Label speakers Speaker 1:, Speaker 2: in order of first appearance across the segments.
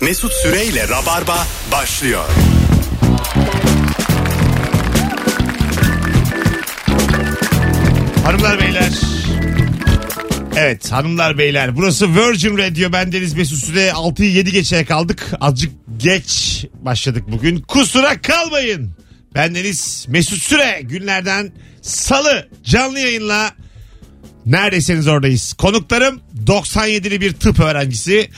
Speaker 1: Mesut Süreyle Rabarba başlıyor.
Speaker 2: Hanımlar beyler. Evet hanımlar beyler burası Virgin Radio ben Deniz Mesut Süre 6'yı 7 geçeye kaldık azıcık geç başladık bugün kusura kalmayın ben Deniz Mesut Süre günlerden salı canlı yayınla neredeyseniz oradayız konuklarım 97'li bir tıp öğrencisi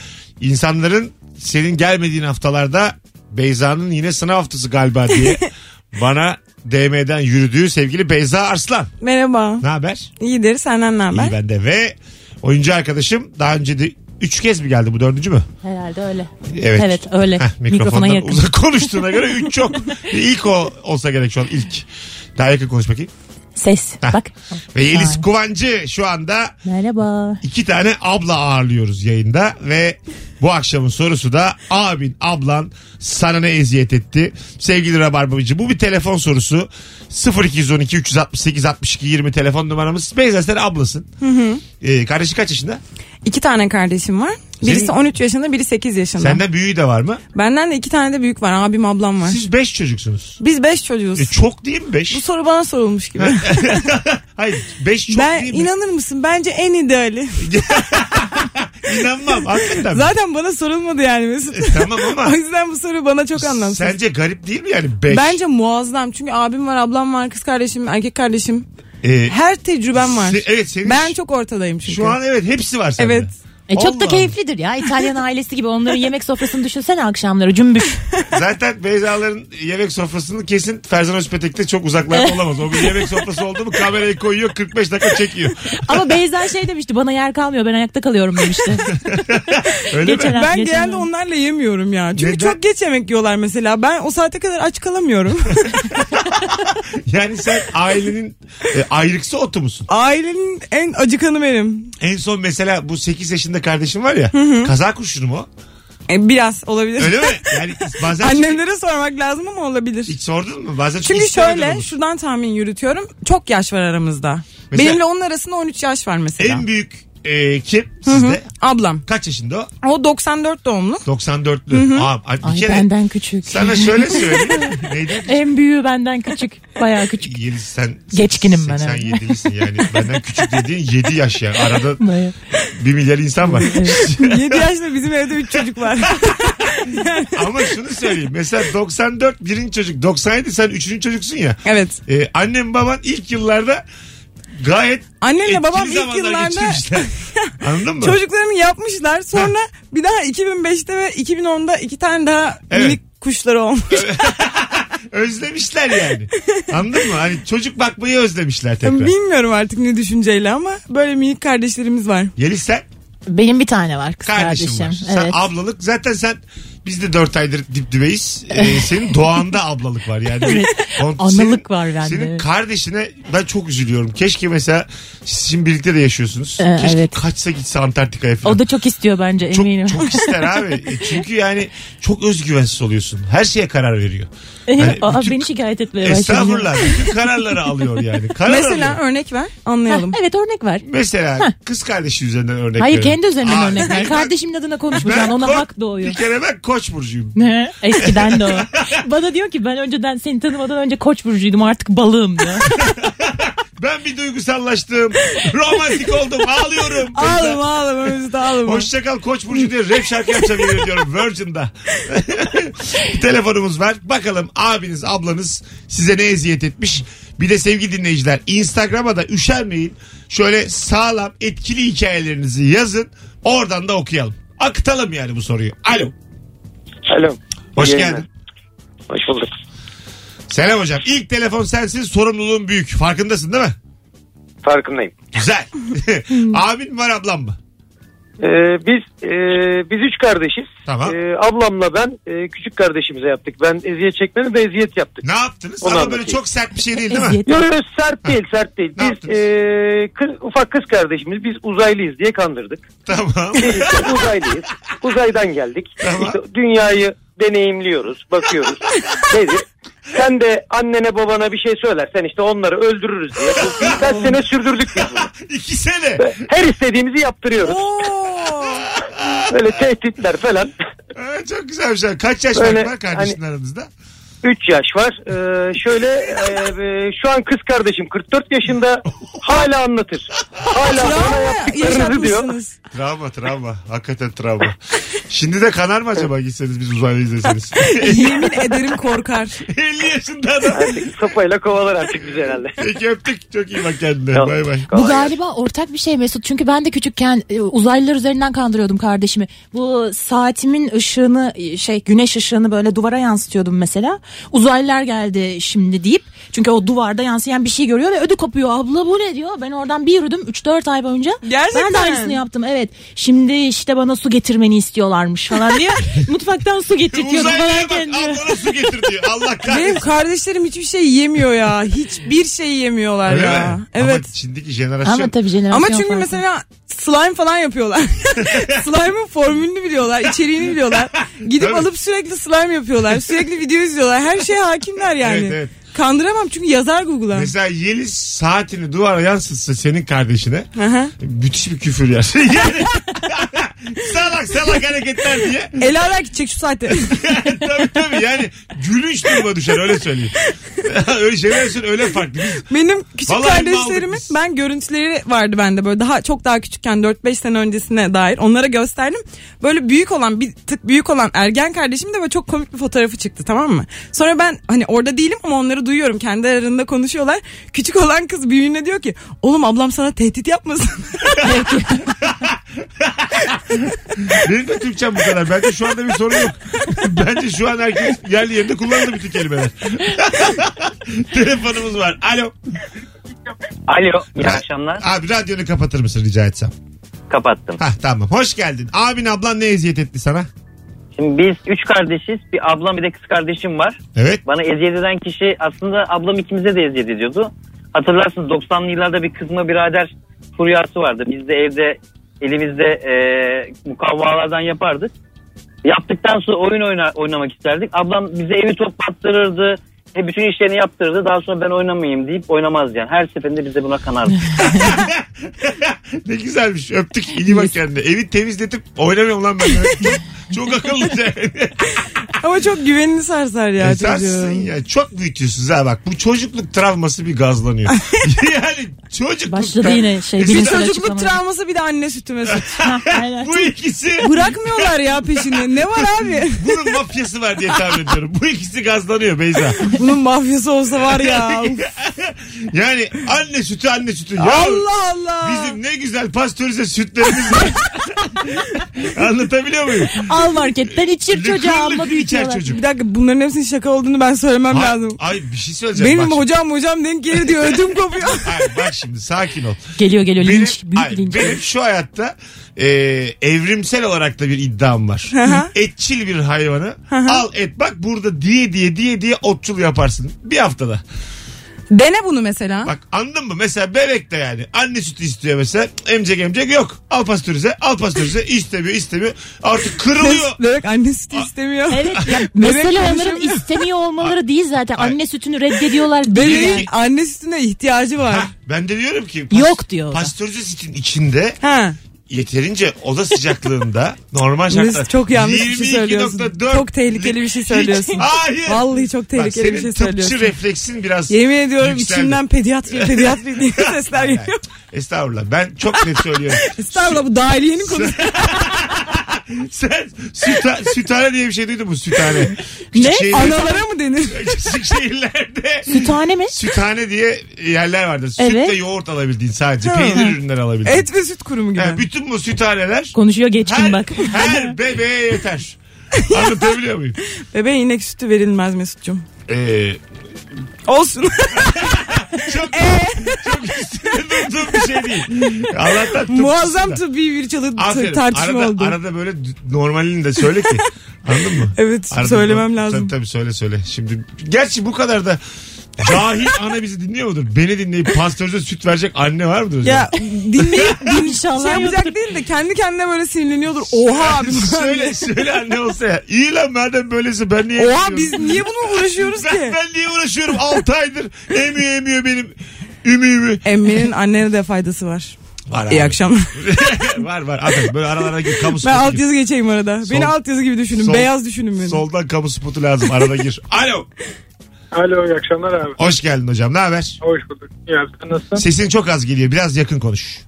Speaker 2: insanların senin gelmediğin haftalarda Beyza'nın yine sınav haftası galiba diye bana DM'den yürüdüğü sevgili Beyza Arslan
Speaker 3: Merhaba.
Speaker 2: ne haber?
Speaker 3: İyidir senden ne
Speaker 2: İyi
Speaker 3: haber?
Speaker 2: bende ve oyuncu arkadaşım daha önce de 3 kez mi geldi bu dördüncü mü?
Speaker 4: Herhalde öyle.
Speaker 2: Evet.
Speaker 4: Evet, öyle.
Speaker 2: Heh,
Speaker 4: Mikrofona
Speaker 2: mikrofondan
Speaker 4: yakın.
Speaker 2: uzak konuştuğuna göre 3 çok. İlk o olsa gerek şu an ilk. Daha yakın konuş bakayım.
Speaker 4: Ses. Bak.
Speaker 2: Ve Yeliz
Speaker 4: Ay.
Speaker 2: Kuvancı şu anda
Speaker 4: Merhaba.
Speaker 2: iki tane abla ağırlıyoruz yayında ve bu akşamın sorusu da abin ablan sana ne eziyet etti sevgili Rabarbacı bu bir telefon sorusu 0212 368 62 20 telefon numaramız Beyza sen ablasın Ee, kardeşi kaç yaşında
Speaker 3: İki tane kardeşim var. Birisi
Speaker 2: Senin-
Speaker 3: 13 yaşında, biri 8 yaşında.
Speaker 2: senden büyüğü de var mı
Speaker 3: Benden de iki tane de büyük var. Abim, ablam var.
Speaker 2: Siz 5 çocuksunuz.
Speaker 3: Biz 5 çocuğuz.
Speaker 2: E, çok değil mi
Speaker 3: Bu
Speaker 2: 5?
Speaker 3: soru bana sorulmuş gibi.
Speaker 2: Hayır 5 çok
Speaker 3: ben
Speaker 2: değil mi?
Speaker 3: inanır mısın? Bence en ideali.
Speaker 2: İnanmam hakikaten.
Speaker 3: Zaten bana sorulmadı yani Mesut.
Speaker 2: E, tamam ama
Speaker 3: o yüzden bu soru bana çok anlamsız.
Speaker 2: sence garip değil mi yani 5?
Speaker 3: Bence muazzam. Çünkü abim var, ablam var, kız kardeşim, erkek kardeşim.
Speaker 2: Ee,
Speaker 3: Her tecrübem var.
Speaker 2: Se- evet, senin-
Speaker 3: ben çok ortadayım çünkü.
Speaker 2: şu an evet hepsi var sende.
Speaker 3: Evet.
Speaker 4: E çok da
Speaker 2: Allah'ım.
Speaker 4: keyiflidir ya. İtalyan ailesi gibi onların yemek sofrasını düşünsene akşamları cümbüş.
Speaker 2: Zaten Beyza'ların yemek sofrasını kesin Ferzan Özpetek'te çok uzaklarda olamaz. O gün yemek sofrası oldu mu kamerayı koyuyor 45 dakika çekiyor.
Speaker 4: Ama Beyza şey demişti bana yer kalmıyor ben ayakta kalıyorum demişti.
Speaker 2: Öyle
Speaker 4: Geçen
Speaker 2: mi?
Speaker 4: hafta.
Speaker 3: Ben
Speaker 4: Geçen
Speaker 3: genelde
Speaker 4: hafta.
Speaker 3: onlarla yemiyorum ya. Çünkü
Speaker 2: Neden?
Speaker 3: çok geç yemek yiyorlar mesela. Ben o saate kadar aç kalamıyorum.
Speaker 2: Yani sen ailenin e, ayrıksı otu musun?
Speaker 3: Ailenin en acıkanı benim.
Speaker 2: En son mesela bu 8 yaşında kardeşim var ya kaza kurşunu mu? o?
Speaker 3: E, biraz olabilir.
Speaker 2: Öyle mi? Yani bazen
Speaker 3: Annemlere sormak lazım ama olabilir.
Speaker 2: Hiç sordun mu? Bazen çok
Speaker 3: Çünkü
Speaker 2: istemeden
Speaker 3: şöyle
Speaker 2: olur.
Speaker 3: şuradan tahmin yürütüyorum. Çok yaş var aramızda.
Speaker 2: Mesela-
Speaker 3: Benimle onun arasında 13 yaş var mesela.
Speaker 2: En büyük e, kim
Speaker 3: Hı hı.
Speaker 2: sizde?
Speaker 3: Ablam.
Speaker 2: Kaç yaşında o?
Speaker 3: O 94 doğumlu.
Speaker 2: 94'lü. Aa, ay, bir
Speaker 4: Ay
Speaker 2: kere
Speaker 4: benden küçük.
Speaker 2: sana şöyle söyleyeyim. Neydi?
Speaker 4: En büyüğü benden küçük. Bayağı küçük.
Speaker 2: Yeliz sen
Speaker 4: Geçkinim ben, evet.
Speaker 2: 87'lisin yani. Benden küçük dediğin 7 yaş yani. Arada
Speaker 4: Bayağı.
Speaker 2: 1 milyar insan var.
Speaker 3: 7 yaşta bizim evde 3 çocuk var.
Speaker 2: Ama şunu söyleyeyim. Mesela 94 birinci çocuk. 97 sen üçüncü çocuksun ya.
Speaker 3: evet.
Speaker 2: Ee, annem baban ilk yıllarda gayet
Speaker 3: Annemle
Speaker 2: etkili
Speaker 3: babam ilk
Speaker 2: zamanlar
Speaker 3: yıllarda
Speaker 2: geçirmişler. Anladın mı?
Speaker 3: çocuklarını yapmışlar. Sonra bir daha 2005'te ve 2010'da iki tane daha
Speaker 2: Evet.
Speaker 3: minik kuşları olmuş.
Speaker 2: Özlemişler yani. Anladın mı? Hani çocuk bakmayı özlemişler tekrar.
Speaker 3: Bilmiyorum artık ne düşünceyle ama böyle minik kardeşlerimiz var.
Speaker 2: Yeliz sen
Speaker 4: Benim bir tane var kız
Speaker 2: kardeşim,
Speaker 4: kardeşim.
Speaker 2: var. Sen
Speaker 4: Evet.
Speaker 2: ablalık zaten sen biz de 4 aydır dip dibeyiz. Ee, senin doğanda ablalık var yani. On-
Speaker 4: Analık var bende,
Speaker 2: Senin
Speaker 4: evet.
Speaker 2: kardeşine ben çok üzülüyorum. Keşke mesela siz şimdi birlikte de yaşıyorsunuz.
Speaker 4: Ee,
Speaker 2: Keşke
Speaker 4: evet.
Speaker 2: kaçsa gitse Antarktika'ya falan.
Speaker 4: O da çok istiyor bence
Speaker 2: çok,
Speaker 4: eminim.
Speaker 2: çok ister abi. E, Çünkü yani çok özgüvensiz oluyorsun. Her şeye karar veriyor. Yani
Speaker 4: Aa,
Speaker 2: bütün-
Speaker 4: beni şikayet etmeye başladı.
Speaker 2: Hani Estağfurullah. Bütün kararları alıyor yani. Karar
Speaker 3: Mesela
Speaker 2: alıyor.
Speaker 3: örnek ver
Speaker 4: Hah,
Speaker 3: anlayalım.
Speaker 4: evet örnek ver.
Speaker 2: Mesela kız kardeşi üzerinden örnek
Speaker 4: Hayır
Speaker 2: veriyorum.
Speaker 4: kendi üzerinden
Speaker 2: Aa,
Speaker 4: örnek ver.
Speaker 2: ben-
Speaker 4: Kardeşimin adına konuşmayacaksın.
Speaker 2: ben
Speaker 4: Ona
Speaker 2: Koç-
Speaker 4: hak doğuyor.
Speaker 2: Bir kere ben koç burcuyum.
Speaker 4: Ne? Eskiden de o. Bana diyor ki ben önceden seni tanımadan önce koç burcuydum artık balığım diyor.
Speaker 2: Ben bir duygusallaştım. Romantik oldum. Ağlıyorum.
Speaker 3: Ağlama ağlama Mesut ağlama.
Speaker 2: Hoşçakal Koç Burcu diye rap şarkı yapacağım yemin ediyorum Virgin'da. Telefonumuz var. Bakalım abiniz ablanız size ne eziyet etmiş. Bir de sevgili dinleyiciler Instagram'a da üşenmeyin. Şöyle sağlam etkili hikayelerinizi yazın. Oradan da okuyalım. Akıtalım yani bu soruyu. Alo.
Speaker 5: Alo.
Speaker 2: Hoş
Speaker 5: İyi
Speaker 2: geldin.
Speaker 5: yayınlar. Hoş bulduk.
Speaker 2: Selam hocam. İlk telefon sensin sorumluluğun büyük. Farkındasın değil mi?
Speaker 5: Farkındayım.
Speaker 2: Güzel. Abin mi var ablam mı?
Speaker 5: Ee, biz e, biz üç kardeşiz.
Speaker 2: Tamam.
Speaker 5: Ee, ablamla ben e, küçük kardeşimize yaptık. Ben eziyet çekmeni de eziyet yaptık.
Speaker 2: Ne yaptınız?
Speaker 5: Onu
Speaker 2: Ama böyle
Speaker 5: anlatayım.
Speaker 2: çok sert bir şey değil değil mi?
Speaker 4: Eziyet.
Speaker 5: Yok yok sert değil sert değil.
Speaker 2: Ne
Speaker 5: Biz
Speaker 2: yaptınız?
Speaker 5: e, kız, ufak kız kardeşimiz biz uzaylıyız diye kandırdık.
Speaker 2: Tamam.
Speaker 5: Biz işte uzaylıyız. Uzaydan geldik.
Speaker 2: Tamam.
Speaker 5: İşte dünyayı deneyimliyoruz, bakıyoruz. Nedir? Sen de annene babana bir şey söylersen işte onları öldürürüz diye. Bu Birkaç sene sürdürdük biz bunu.
Speaker 2: İki sene.
Speaker 5: Her istediğimizi yaptırıyoruz.
Speaker 3: Oo.
Speaker 5: Böyle tehditler falan.
Speaker 2: Ee, Çok güzel bir şey. Kaç yaş
Speaker 5: Böyle
Speaker 2: fark var kardeşin aranızda?
Speaker 5: 3 yaş var. Ee, şöyle e, e, şu an kız kardeşim 44 yaşında hala anlatır. Hala bana yaptıklarını diyor.
Speaker 3: yaşatmışsınız.
Speaker 2: Travma travma. Hakikaten travma. Şimdi de kanar mı acaba gitseniz biz uzaylı izleseniz?
Speaker 3: Yemin ederim korkar.
Speaker 2: 50 yaşında adam.
Speaker 5: Artık sopayla kovalar artık biz herhalde.
Speaker 2: Peki öptük. Çok iyi bak kendine.
Speaker 5: Tamam.
Speaker 2: Bay bay.
Speaker 4: Bu galiba ortak bir şey Mesut. Çünkü ben de küçükken e, uzaylılar üzerinden kandırıyordum kardeşimi. Bu saatimin ışığını e, şey güneş ışığını böyle duvara yansıtıyordum mesela. Uzaylılar geldi şimdi deyip. Çünkü o duvarda yansıyan bir şey görüyor ve ödü kopuyor. Abla bu ne diyor. Ben oradan bir yürüdüm 3-4 ay boyunca. Ben de
Speaker 3: Gerçekten.
Speaker 4: aynısını yaptım evet. Şimdi işte bana su getirmeni istiyorlarmış falan diye. Mutfaktan su getirtiyordu
Speaker 2: Uzaylıya
Speaker 4: falan
Speaker 2: bak.
Speaker 4: kendine.
Speaker 2: Al bana su getir diyor. Allah kahretsin.
Speaker 3: Benim kardeşlerim hiçbir şey yemiyor ya. Hiçbir şey yemiyorlar
Speaker 2: Öyle
Speaker 3: ya.
Speaker 2: mi?
Speaker 3: Evet.
Speaker 2: Ama şimdiki jenerasyon.
Speaker 4: Ama tabii jenerasyon
Speaker 3: Ama çünkü
Speaker 4: farkı.
Speaker 3: mesela slime falan yapıyorlar. Slime'ın formülünü biliyorlar, içeriğini biliyorlar. Gidip
Speaker 2: Tabii.
Speaker 3: alıp sürekli slime yapıyorlar. Sürekli video izliyorlar. Her şeye hakimler yani.
Speaker 2: Evet, evet.
Speaker 3: Kandıramam çünkü yazar Google'a.
Speaker 2: Mesela Yeliz saatini duvara yansıtsa senin kardeşine
Speaker 3: Aha.
Speaker 2: müthiş bir küfür yer. yani salak salak hareketler diye.
Speaker 3: El ala gidecek şu saatte.
Speaker 2: tabii tabii yani gülünç duruma düşer öyle söyleyeyim. öyle jenerasyon öyle farklı. Biz
Speaker 3: Benim küçük
Speaker 2: Vallahi
Speaker 3: kardeşlerimin
Speaker 2: aldık biz.
Speaker 3: ben görüntüleri vardı bende böyle daha çok daha küçükken 4-5 sene öncesine dair onlara gösterdim. Böyle büyük olan bir tık büyük olan ergen kardeşim de böyle çok komik bir fotoğrafı çıktı tamam mı? Sonra ben hani orada değilim ama onları duyuyorum kendi aralarında konuşuyorlar. Küçük olan kız büyüğüne diyor ki oğlum ablam sana tehdit yapmasın.
Speaker 2: Benim de Türkçem bu kadar. Bence şu anda bir sorun yok. Bence şu an herkes yerli yerinde kullanıldı bütün kelimeler. Telefonumuz var. Alo.
Speaker 5: Alo iyi akşamlar.
Speaker 2: Abi radyonu kapatır mısın rica etsem?
Speaker 5: Kapattım.
Speaker 2: Hah tamam. Hoş geldin. Abin ablan ne eziyet etti sana?
Speaker 5: Şimdi biz üç kardeşiz. Bir ablam bir de kız kardeşim var.
Speaker 2: Evet.
Speaker 5: Bana eziyet eden kişi aslında ablam ikimize de eziyet ediyordu. Hatırlarsınız 90'lı yıllarda bir kızma birader furyası vardı. Biz de evde elimizde e, mukavvalardan yapardık. Yaptıktan sonra oyun oyna, oynamak isterdik. Ablam bize evi toplattırırdı. E, bütün işlerini yaptırırdı. Daha sonra ben oynamayayım deyip oynamaz yani. Her seferinde bize buna kanardı.
Speaker 2: ne güzelmiş. Öptük. İyi bak kendine. Evi temizletip oynamıyorum lan ben. Çok, çok akıllıca.
Speaker 3: ama çok güvenini sarsar ya
Speaker 2: Esarsın
Speaker 3: çocuğun.
Speaker 2: ya. Çok büyütüyorsunuz ha bak. Bu çocukluk travması bir gazlanıyor. yani çocukluk.
Speaker 4: Başladı yine şey,
Speaker 2: Biz-
Speaker 3: Bir
Speaker 4: bilimsel
Speaker 3: çocukluk
Speaker 4: açıklama.
Speaker 3: travması bir de anne sütü mesut.
Speaker 4: Hah, aynen.
Speaker 2: Bu ikisi.
Speaker 3: Bırakmıyorlar ya peşini. Ne var abi?
Speaker 2: Bunun mafyası var diye tahmin ediyorum. Bu ikisi gazlanıyor Beyza.
Speaker 3: Bunun mafyası olsa var ya. Uf,
Speaker 2: Yani anne sütü anne sütü. Ya
Speaker 3: Allah Allah.
Speaker 2: Bizim ne güzel pastörize sütlerimiz var. Anlatabiliyor muyum?
Speaker 4: Al marketten içir
Speaker 2: Lıkır
Speaker 4: çocuğa ama
Speaker 2: lıkır içer
Speaker 4: büyütüyorlar.
Speaker 2: çocuk.
Speaker 3: Bir dakika bunların hepsinin şaka olduğunu ben söylemem
Speaker 2: Ay,
Speaker 3: lazım.
Speaker 2: ay bir şey söyleyeceğim.
Speaker 3: Benim
Speaker 2: bak,
Speaker 3: hocam hocam denk gelir diyor ödüm kopuyor.
Speaker 2: şimdi. Ay, bak şimdi sakin ol.
Speaker 4: Geliyor geliyor
Speaker 2: Benim,
Speaker 4: linç. Büyük
Speaker 2: ay,
Speaker 4: linç.
Speaker 2: benim şu hayatta e, evrimsel olarak da bir iddiam var.
Speaker 3: hı.
Speaker 2: Etçil bir hayvanı al et bak burada diye diye diye diye otçul yaparsın. Bir haftada.
Speaker 3: Dene bunu mesela.
Speaker 2: Bak anladın mı? Mesela bebek de yani anne sütü istiyor mesela. Emcek emcek yok. Al pastörize, al pastörize. istemiyor, istemiyor. Artık kırılıyor.
Speaker 3: Bebek- Bebek anne sütü istemiyor.
Speaker 4: Evet ya
Speaker 3: Bebek
Speaker 4: mesela onların
Speaker 3: konuşamıyor.
Speaker 4: istemiyor olmaları değil zaten.
Speaker 2: Ay.
Speaker 4: Anne sütünü reddediyorlar değil. yani.
Speaker 3: Bebeğin anne sütüne ihtiyacı var.
Speaker 2: Ha, ben de diyorum ki
Speaker 4: Yok diyor o da.
Speaker 2: Pastörize sütün içinde
Speaker 3: Ha.
Speaker 2: yeterince oda sıcaklığında normal
Speaker 3: Biz
Speaker 2: şartlar.
Speaker 3: çok yanlış bir şey söylüyorsun.
Speaker 2: 22.4
Speaker 3: Çok tehlikeli bir şey söylüyorsun.
Speaker 2: Hiç- hayır.
Speaker 3: Vallahi çok
Speaker 2: Bak,
Speaker 3: tehlikeli bir şey
Speaker 2: senin tıpçı
Speaker 3: söylüyorsun.
Speaker 2: refleksin biraz
Speaker 3: Yemin ediyorum
Speaker 2: yükseldi.
Speaker 3: içimden pediatri pediatri diye sesler
Speaker 2: Yani,
Speaker 3: geliyor.
Speaker 2: Estağfurullah ben çok net söylüyorum.
Speaker 3: Estağfurullah bu dahiliyenin konusu.
Speaker 2: Sen süta, sütane diye bir şey duydun mu sütane?
Speaker 4: Ne?
Speaker 3: Analara mı denir?
Speaker 2: Küçük şehirlerde
Speaker 4: Bir tane mi?
Speaker 2: sütane diye yerler vardır. Süt
Speaker 4: Evet.
Speaker 2: ve yoğurt alabildiğin sadece.
Speaker 3: Ha.
Speaker 2: Peynir ürünleri alabildiğin.
Speaker 3: Et ve süt kurumu gibi.
Speaker 2: Yani bütün bu süthaneler
Speaker 4: Konuşuyor geçkin
Speaker 2: her,
Speaker 4: bak.
Speaker 2: her bebeğe yeter. Anlatabiliyor muyum?
Speaker 3: Bebeğe inek sütü verilmez Mesut'cum.
Speaker 2: Ee,
Speaker 3: Olsun.
Speaker 2: çok,
Speaker 3: Ee?
Speaker 2: çok üstüne durduğum bir şey değil. Allah'tan tıp
Speaker 3: Muazzam
Speaker 2: dışında.
Speaker 3: tıbbi bir çalı
Speaker 2: Aferin.
Speaker 3: tartışma
Speaker 2: arada,
Speaker 3: oldu.
Speaker 2: Arada böyle d- normalini de söyle ki. Anladın mı?
Speaker 3: Evet,
Speaker 2: Arada
Speaker 3: söylemem
Speaker 2: bu-
Speaker 3: lazım.
Speaker 2: Tabii tabii söyle söyle. Şimdi gerçi bu kadar da cahil ana bizi dinliyor mudur? Beni dinleyip pastörize süt verecek anne var mıdır?
Speaker 3: Ya dinleyip din şey
Speaker 4: İnşallah
Speaker 3: yapacak değil de kendi kendine böyle sinirleniyordur. Oha abi.
Speaker 2: söyle söyle anne olsa ya. İyi lan madem böylesi ben niye
Speaker 3: Oha
Speaker 2: yapıyorum?
Speaker 3: biz niye bunu uğraşıyoruz ki?
Speaker 2: ben, ben niye uğraşıyorum 6 aydır emiyor emiyor benim ümüğümü.
Speaker 3: Emmenin annene de faydası var.
Speaker 2: Var abi.
Speaker 3: İyi akşamlar.
Speaker 2: var var. Adam böyle aralara gir. Kamu
Speaker 3: Ben
Speaker 2: spotu
Speaker 3: alt
Speaker 2: gir.
Speaker 3: yazı geçeyim arada.
Speaker 2: Sol-
Speaker 3: beni alt yazı gibi düşünün.
Speaker 2: Sol-
Speaker 3: Beyaz düşünün beni.
Speaker 2: Soldan kamu spotu lazım. Arada gir. Alo.
Speaker 6: Alo iyi akşamlar abi.
Speaker 2: Hoş geldin hocam. Ne haber?
Speaker 6: Hoş bulduk. İyi abi sen nasılsın?
Speaker 2: Sesin çok az geliyor. Biraz yakın konuş.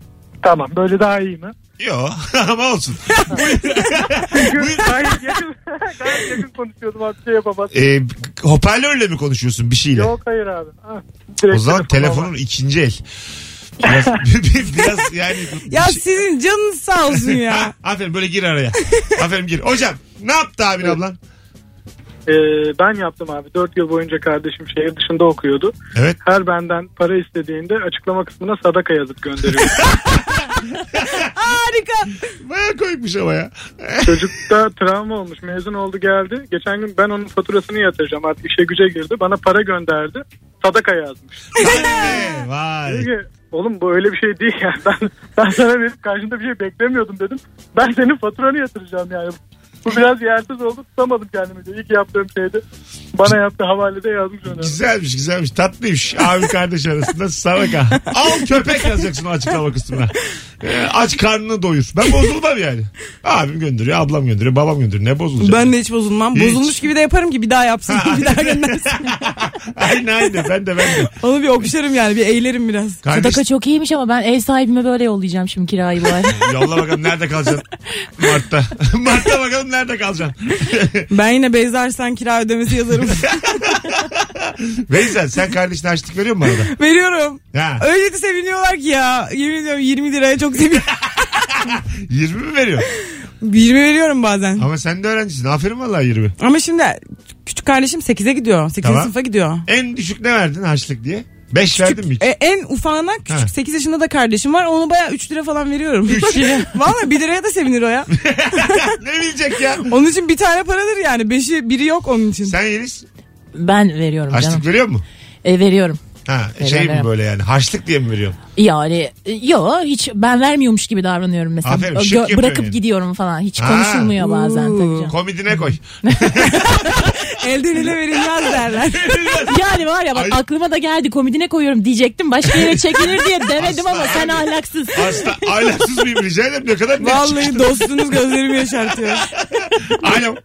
Speaker 6: Tamam böyle daha iyi mi?
Speaker 2: Yo ama olsun.
Speaker 6: Çünkü gayet yakın, gayet yakın konuşuyordum abi şey yapamaz.
Speaker 2: Ee, hoparlörle mi konuşuyorsun bir şeyle?
Speaker 6: Yok hayır abi. Ha,
Speaker 2: o
Speaker 6: direkt
Speaker 2: zaman
Speaker 6: telefonla
Speaker 2: telefonun
Speaker 6: var.
Speaker 2: ikinci el. Biraz, biraz yani. şey-
Speaker 3: Ya sizin canınız sağ olsun ya.
Speaker 2: Ha, aferin böyle gir araya. aferin gir. Hocam ne yaptı abin ablan?
Speaker 6: Ee, ben yaptım abi. 4 yıl boyunca kardeşim şehir dışında okuyordu.
Speaker 2: Evet.
Speaker 6: Her benden para istediğinde açıklama kısmına sadaka yazıp gönderiyordu.
Speaker 3: Harika.
Speaker 2: Baya koymuş ama ya.
Speaker 6: Çocukta travma olmuş. Mezun oldu geldi. Geçen gün ben onun faturasını yatıracağım. Artık işe güce girdi. Bana para gönderdi. Sadaka yazmış.
Speaker 2: Vay.
Speaker 6: Dedi
Speaker 2: Vay.
Speaker 6: ki oğlum bu öyle bir şey değil ya. Ben, ben sana verip karşında bir şey beklemiyordum dedim. Ben senin faturanı yatıracağım yani. Bu biraz yersiz oldu. Tutamadım kendimi. diyor. İlk yaptığım şeydi. Bana yaptığı havalede yazmış onu.
Speaker 2: Güzelmiş güzelmiş tatlıymış abi kardeş arasında sadaka. Al köpek yazacaksın o açıklama kısmına. Ee, aç karnını doyur. Ben bozulmam yani. Abim gönderiyor ablam gönderiyor babam gönderiyor ne bozulacak?
Speaker 3: Ben de hiç bozulmam.
Speaker 2: Hiç.
Speaker 3: Bozulmuş gibi de yaparım ki bir daha yapsın. bir daha göndersin.
Speaker 2: Aynen aynen ben de ben de.
Speaker 3: Onu bir okşarım yani. Bir eğlerim biraz.
Speaker 2: Kardeş
Speaker 4: Sadaka çok iyiymiş ama ben ev sahibime böyle yollayacağım şimdi kirayı bu ay.
Speaker 2: yolla bakalım nerede kalacaksın Mart'ta. Mart'ta bakalım nerede kalacaksın.
Speaker 3: Ben yine bezlersen kira ödemesi yazarım.
Speaker 2: Veysel sen kardeşine açlık veriyor musun arada?
Speaker 3: Veriyorum.
Speaker 2: Ha,
Speaker 3: Öyle de seviniyorlar ki ya. Yemin ediyorum 20 liraya çok seviniyorum.
Speaker 2: 20 mi veriyor?
Speaker 3: 20 veriyorum bazen.
Speaker 2: Ama sen de öğrencisin. Aferin vallahi 20.
Speaker 3: Ama şimdi küçük kardeşim 8'e gidiyor. 8.
Speaker 2: Tamam.
Speaker 3: sınıfa gidiyor.
Speaker 2: En düşük ne verdin harçlık diye? 5 verdin mi hiç?
Speaker 3: E, en ufağına küçük
Speaker 2: Ha.
Speaker 3: 8 yaşında da kardeşim var. Onu baya 3 lira falan veriyorum. 3 lira. Valla 1 liraya da sevinir o ya.
Speaker 2: ne bilecek ya?
Speaker 3: Onun için bir tane paradır yani. 5'i biri yok onun için.
Speaker 2: Sen Yeliz
Speaker 4: ben veriyorum canım.
Speaker 2: harçlık veriyor mu?
Speaker 4: E, veriyorum.
Speaker 2: Ha,
Speaker 4: Veriyorum,
Speaker 2: şey mi
Speaker 4: veriyorum.
Speaker 2: böyle yani harçlık diye mi veriyorsun?
Speaker 4: Yani e, yo hiç ben vermiyormuş gibi davranıyorum mesela.
Speaker 2: Aferin,
Speaker 4: Ö-
Speaker 2: şık yapıyorsun
Speaker 4: bırakıp
Speaker 2: yani.
Speaker 4: gidiyorum falan. Hiç
Speaker 2: Ha.
Speaker 4: konuşulmuyor bazen
Speaker 3: Oo.
Speaker 4: tabii canım.
Speaker 2: Komidine koy.
Speaker 3: Elden ele verilmez derler.
Speaker 4: Yani var ya bak
Speaker 2: Ay.
Speaker 4: aklıma da geldi komidine koyuyorum diyecektim. Başka yere çekilir diye demedim ama sen ahlaksız.
Speaker 2: Asla ahlaksız mıyım rica ederim ne kadar net
Speaker 3: Vallahi
Speaker 2: çıktın.
Speaker 3: dostunuz gözlerimi yaşartıyor.
Speaker 2: Alo.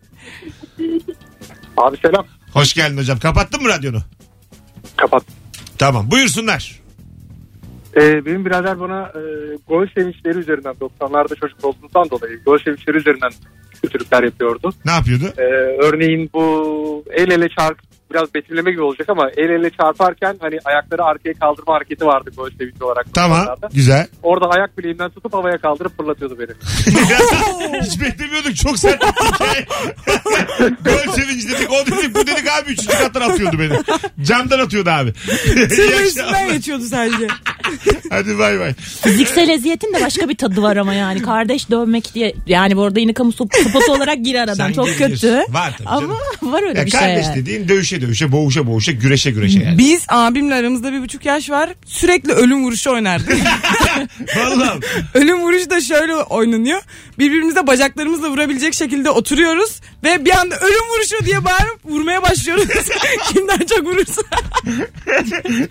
Speaker 6: Abi selam.
Speaker 2: Hoş geldin hocam. Kapattın mı radyonu?
Speaker 6: Kapat.
Speaker 2: Tamam buyursunlar.
Speaker 6: Ee, benim birader bana e, gol sevinçleri üzerinden 90'larda çocuk olduğundan dolayı gol sevinçleri üzerinden kötülükler yapıyordu.
Speaker 2: Ne yapıyordu?
Speaker 6: Ee, örneğin bu el ele çarp biraz betimleme gibi olacak ama el ele çarparken hani ayakları arkaya kaldırma hareketi vardı gol sevinci olarak.
Speaker 2: Tamam
Speaker 6: 90'larda.
Speaker 2: güzel.
Speaker 6: Orada ayak bileğimden tutup havaya kaldırıp fırlatıyordu beni.
Speaker 2: Hiç beklemiyorduk çok sert bir hikaye. Gol sevinci dedik o dedik bu dedik abi üçüncü kattan atıyordu beni. Camdan atıyordu abi. İyi
Speaker 3: Tırma
Speaker 2: akşamlar.
Speaker 3: üstünden geçiyordu sadece.
Speaker 2: Hadi bay bay.
Speaker 4: Fiziksel eziyetin de başka bir tadı var ama yani. Kardeş dövmek diye. Yani bu arada yine kamu sop- spotu olarak gir aradan.
Speaker 2: Sen
Speaker 4: Çok
Speaker 2: gir, gir.
Speaker 4: kötü.
Speaker 2: Var tabii
Speaker 4: Ama
Speaker 2: canım.
Speaker 4: var öyle
Speaker 2: Ya
Speaker 4: bir şey.
Speaker 2: kardeş
Speaker 4: yani.
Speaker 2: dediğin dövüşe dövüşe boğuşa boğuşa güreşe güreşe yani.
Speaker 3: Biz abimle aramızda bir buçuk yaş var. Sürekli ölüm vuruşu oynardık.
Speaker 2: Vallahi.
Speaker 3: ölüm vuruşu da şöyle oynanıyor. Birbirimize bacaklarımızla vurabilecek şekilde oturuyoruz. Ve bir anda ölüm vuruşu diye bağırıp vurmaya başlıyoruz. Kimden çok vurursa.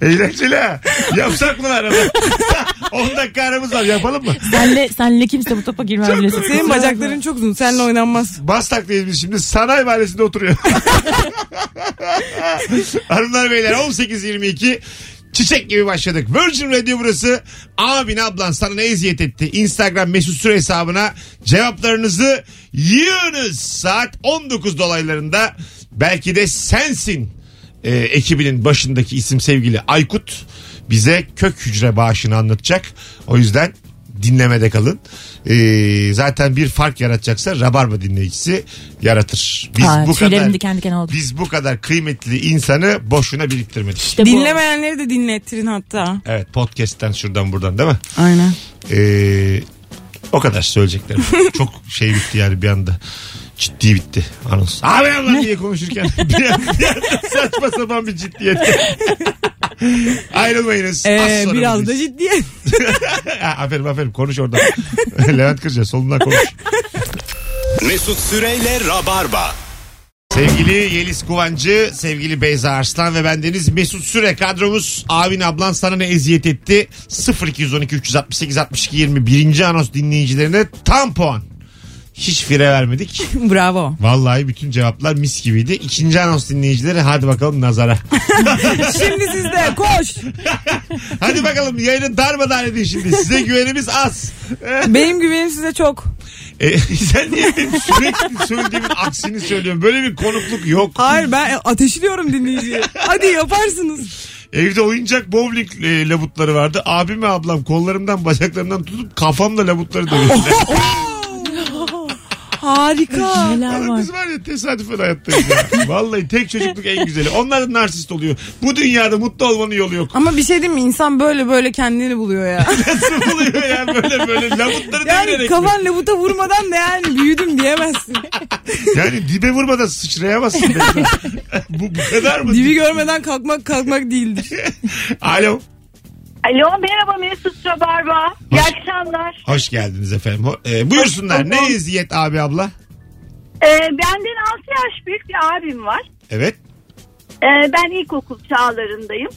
Speaker 2: Eğlenceli ha. Yapsak mı araba? 10 dakika aramız var yapalım mı?
Speaker 4: Senle, senle kimse bu topa girmem bile.
Speaker 3: Senin bacakların çok uzun. Seninle oynanmaz.
Speaker 2: Bastak'tayız biz şimdi. Sanayi Mahallesi'nde oturuyor. Hanımlar beyler 18.22 Çiçek gibi başladık. Virgin Radio burası. Abin ablan sana ne eziyet etti? Instagram mesut süre hesabına cevaplarınızı yığınız. Saat 19 dolaylarında belki de sensin e, ekibinin başındaki isim sevgili Aykut bize kök hücre bağışını anlatacak. O yüzden dinlemede kalın. E, zaten bir fark yaratacaksa Rabarba dinleyicisi yaratır. Biz
Speaker 4: Aa,
Speaker 2: bu kadar
Speaker 4: tüylerim diken diken oldu.
Speaker 2: biz bu kadar kıymetli insanı boşuna biriktirmedik.
Speaker 4: İşte bu.
Speaker 3: Dinlemeyenleri de dinlettirin hatta.
Speaker 2: Evet podcast'ten şuradan buradan değil mi?
Speaker 3: Aynen.
Speaker 2: E, o kadar söyleyeceklerim. Çok şey bitti yani bir anda. Ciddi bitti anons. Abi Allah diye konuşurken bir anda, bir anda saçma sapan bir ciddiyet. Ayrılmayınız. Az
Speaker 3: Ee,
Speaker 2: sonra
Speaker 3: biraz da
Speaker 2: buradayız.
Speaker 3: ciddiye.
Speaker 2: Ha, aferin aferin konuş oradan. Levent Kırca solundan konuş.
Speaker 1: Mesut Süreyle Rabarba.
Speaker 2: Sevgili Yeliz Kuvancı, sevgili Beyza Arslan ve bendeniz Mesut Süre kadromuz. Abin ablan sana ne eziyet etti? 0212 368 62 20 birinci anons dinleyicilerine tam puan. Hiç fire vermedik.
Speaker 3: Bravo.
Speaker 2: Vallahi bütün cevaplar mis gibiydi. İkinci anons dinleyicileri hadi bakalım nazara.
Speaker 3: Şimdi sizde koş.
Speaker 2: Hadi bakalım yayını darmadağın edin şimdi. Size güvenimiz az.
Speaker 3: Benim güvenim size çok.
Speaker 2: E, sen niye benim sürekli söylediğimin aksini söylüyorsun? Böyle bir konukluk yok.
Speaker 3: Hayır ben ateşliyorum dinleyiciye. Hadi yaparsınız.
Speaker 2: Evde oyuncak bowling e, labutları vardı. Abim ve ablam kollarımdan bacaklarımdan tutup kafamla labutları dövüyordu.
Speaker 3: Harika.
Speaker 4: Neler var.
Speaker 2: Biz var ya tesadüfen hayattayız ya. Vallahi tek çocukluk en güzeli. Onlar da narsist oluyor. Bu dünyada mutlu olmanın yolu yok.
Speaker 3: Ama bir şey diyeyim mi? İnsan böyle böyle kendini buluyor ya.
Speaker 2: Nasıl oluyor ya böyle böyle labutları
Speaker 3: Yani
Speaker 2: devirerek.
Speaker 3: kafan labuta vurmadan da yani büyüdüm diyemezsin.
Speaker 2: Yani dibe vurmadan sıçrayamazsın. mesela. bu, bu kadar mı?
Speaker 3: Dibi görmeden kalkmak kalkmak değildir.
Speaker 2: Alo.
Speaker 7: Alo merhaba Mesut Rabarba. İyi akşamlar.
Speaker 2: Hoş geldiniz efendim. Ho- e, buyursunlar. Ne eziyet abi abla?
Speaker 7: Ee, benden 6 yaş büyük bir abim var.
Speaker 2: Evet.
Speaker 7: Ee, ben ilkokul çağlarındayım.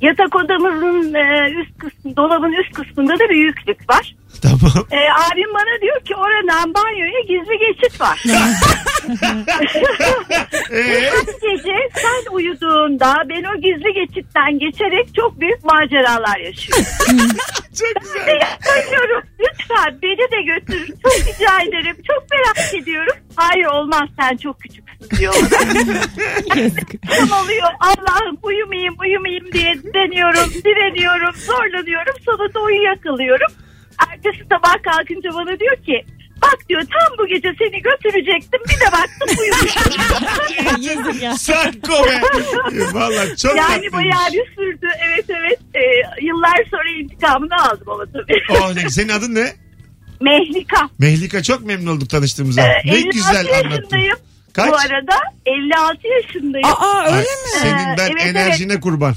Speaker 7: Yatak odamızın e, üst kısmı, dolabın üst kısmında da bir yüklük var.
Speaker 2: Tamam.
Speaker 7: Ee, abim bana diyor ki oradan banyoya gizli geçit var.
Speaker 2: Ee,
Speaker 7: Gece sen uyuduğunda ben o gizli geçitten geçerek çok büyük maceralar yaşıyorum. Ee,
Speaker 2: çok güzel.
Speaker 7: Yapamıyorum. Lütfen beni de götür. Çok rica ederim. Çok merak ediyorum. Hayır olmaz sen çok küçüksün diyor. Tam oluyor. Allah'ım uyumayayım uyumayayım diye deniyorum, direniyorum, zorlanıyorum. Sonunda uyuyakalıyorum. Ertesi sabah kalkınca bana diyor ki Bak diyor tam bu gece seni götürecektim bir de baktım uyumuşum.
Speaker 4: Yazık ya.
Speaker 2: Sanko be. Valla çok
Speaker 7: Yani
Speaker 2: tatlıymış.
Speaker 7: bayağı bir sürdü. Evet evet. Ee, yıllar sonra intikamını aldım ama tabii.
Speaker 2: Oh, ne- senin adın ne?
Speaker 7: Mehlika.
Speaker 2: Mehlika çok memnun olduk tanıştığımıza.
Speaker 7: Ee,
Speaker 2: ne
Speaker 7: 56
Speaker 2: güzel anlattın.
Speaker 7: yaşındayım.
Speaker 2: Kaç?
Speaker 7: Bu arada 56 yaşındayım.
Speaker 3: Aa
Speaker 2: Ay,
Speaker 3: öyle mi?
Speaker 2: Senin ben
Speaker 7: Ee, evet,
Speaker 2: enerjine kurban.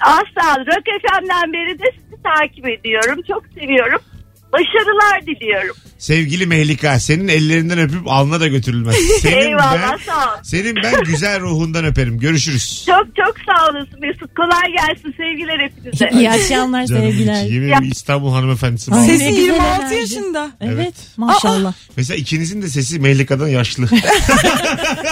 Speaker 7: Asla Rock FM'den beri de sizi takip ediyorum. Çok seviyorum. Başarılar diliyorum.
Speaker 2: Sevgili Mehlika senin ellerinden öpüp alnına da götürülmez. Senin
Speaker 7: Eyvallah
Speaker 2: ben,
Speaker 7: sağ ol.
Speaker 2: Senin ben güzel ruhundan öperim. Görüşürüz.
Speaker 7: Çok çok sağ olasın Mesut. Kolay gelsin sevgiler hepinize.
Speaker 4: İyi akşamlar
Speaker 2: Canım
Speaker 4: sevgiler.
Speaker 2: iki, yemin ederim İstanbul hanımefendisi.
Speaker 4: Ay.
Speaker 2: Vallahi.
Speaker 3: Sesi
Speaker 4: Ne güzel
Speaker 3: 26
Speaker 4: enerji.
Speaker 3: yaşında.
Speaker 2: Evet.
Speaker 4: Evet maşallah.
Speaker 2: Mesela ikinizin de sesi Mehlika'dan yaşlı.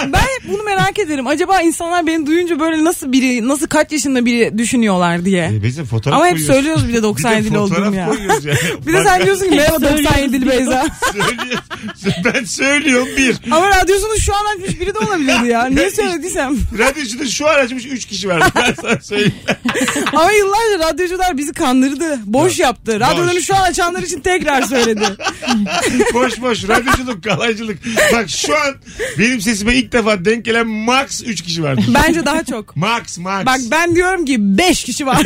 Speaker 3: Ben hep bunu merak ederim. Acaba insanlar beni duyunca böyle nasıl biri, nasıl kaç yaşında biri düşünüyorlar diye.
Speaker 2: E, Bizim fotoğraf
Speaker 3: Ama hep
Speaker 2: koyuyoruz.
Speaker 3: söylüyoruz bir de 97'li olduğum
Speaker 2: fotoğraf
Speaker 3: ya.
Speaker 2: koyuyoruz ya.
Speaker 3: Bir de
Speaker 2: Bak,
Speaker 3: sen diyorsun ki merhaba 97'li Beyza.
Speaker 2: söylüyorsun. Ben söylüyorum bir.
Speaker 3: Ama radyosunu şu an açmış biri de olabilirdi ya. Niye söylediysem.
Speaker 2: Radyocuda şu an açmış 3 kişi var. Ben sana söyleyeyim.
Speaker 3: Ama yıllarca radyocular bizi kandırdı. Boş yaptı. Radyolarını şu an açanlar için tekrar söyledi.
Speaker 2: boş boş radyoculuk, kalaycılık. Bak şu an benim sesime ilk defa denk gelen max 3 kişi vardır.
Speaker 3: Bence daha çok.
Speaker 2: Max max.
Speaker 3: Bak ben diyorum ki 5 kişi var.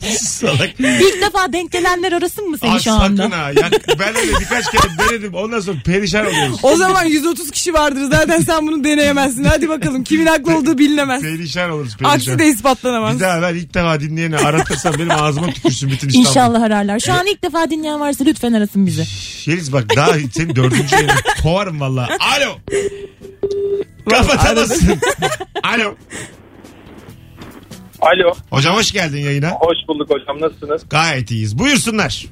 Speaker 2: Salak.
Speaker 4: İlk defa denk gelenler arasın mı seni
Speaker 2: Aa,
Speaker 4: şu
Speaker 2: sakın
Speaker 4: anda?
Speaker 2: ha. Ya, ben öyle birkaç kere denedim. Ondan sonra perişan oluyoruz.
Speaker 3: O zaman 130 kişi vardır. Zaten sen bunu deneyemezsin. Hadi bakalım kimin haklı olduğu bilinemez.
Speaker 2: Perişan oluruz perişan.
Speaker 3: Aksi de ispatlanamaz.
Speaker 2: Bir daha ben ilk defa dinleyeni aratırsam benim ağzıma tükürsün bütün İstanbul.
Speaker 4: İnşallah ararlar. Şu an ilk defa dinleyen varsa lütfen arasın bizi.
Speaker 2: Yeliz bak daha senin dördüncü yerin. Kovarım valla. Alo. Kapatamazsın. Alo.
Speaker 8: Alo.
Speaker 2: Hocam hoş geldin yayına.
Speaker 8: Hoş bulduk hocam. Nasılsınız?
Speaker 2: Gayet iyiyiz. Buyursunlar.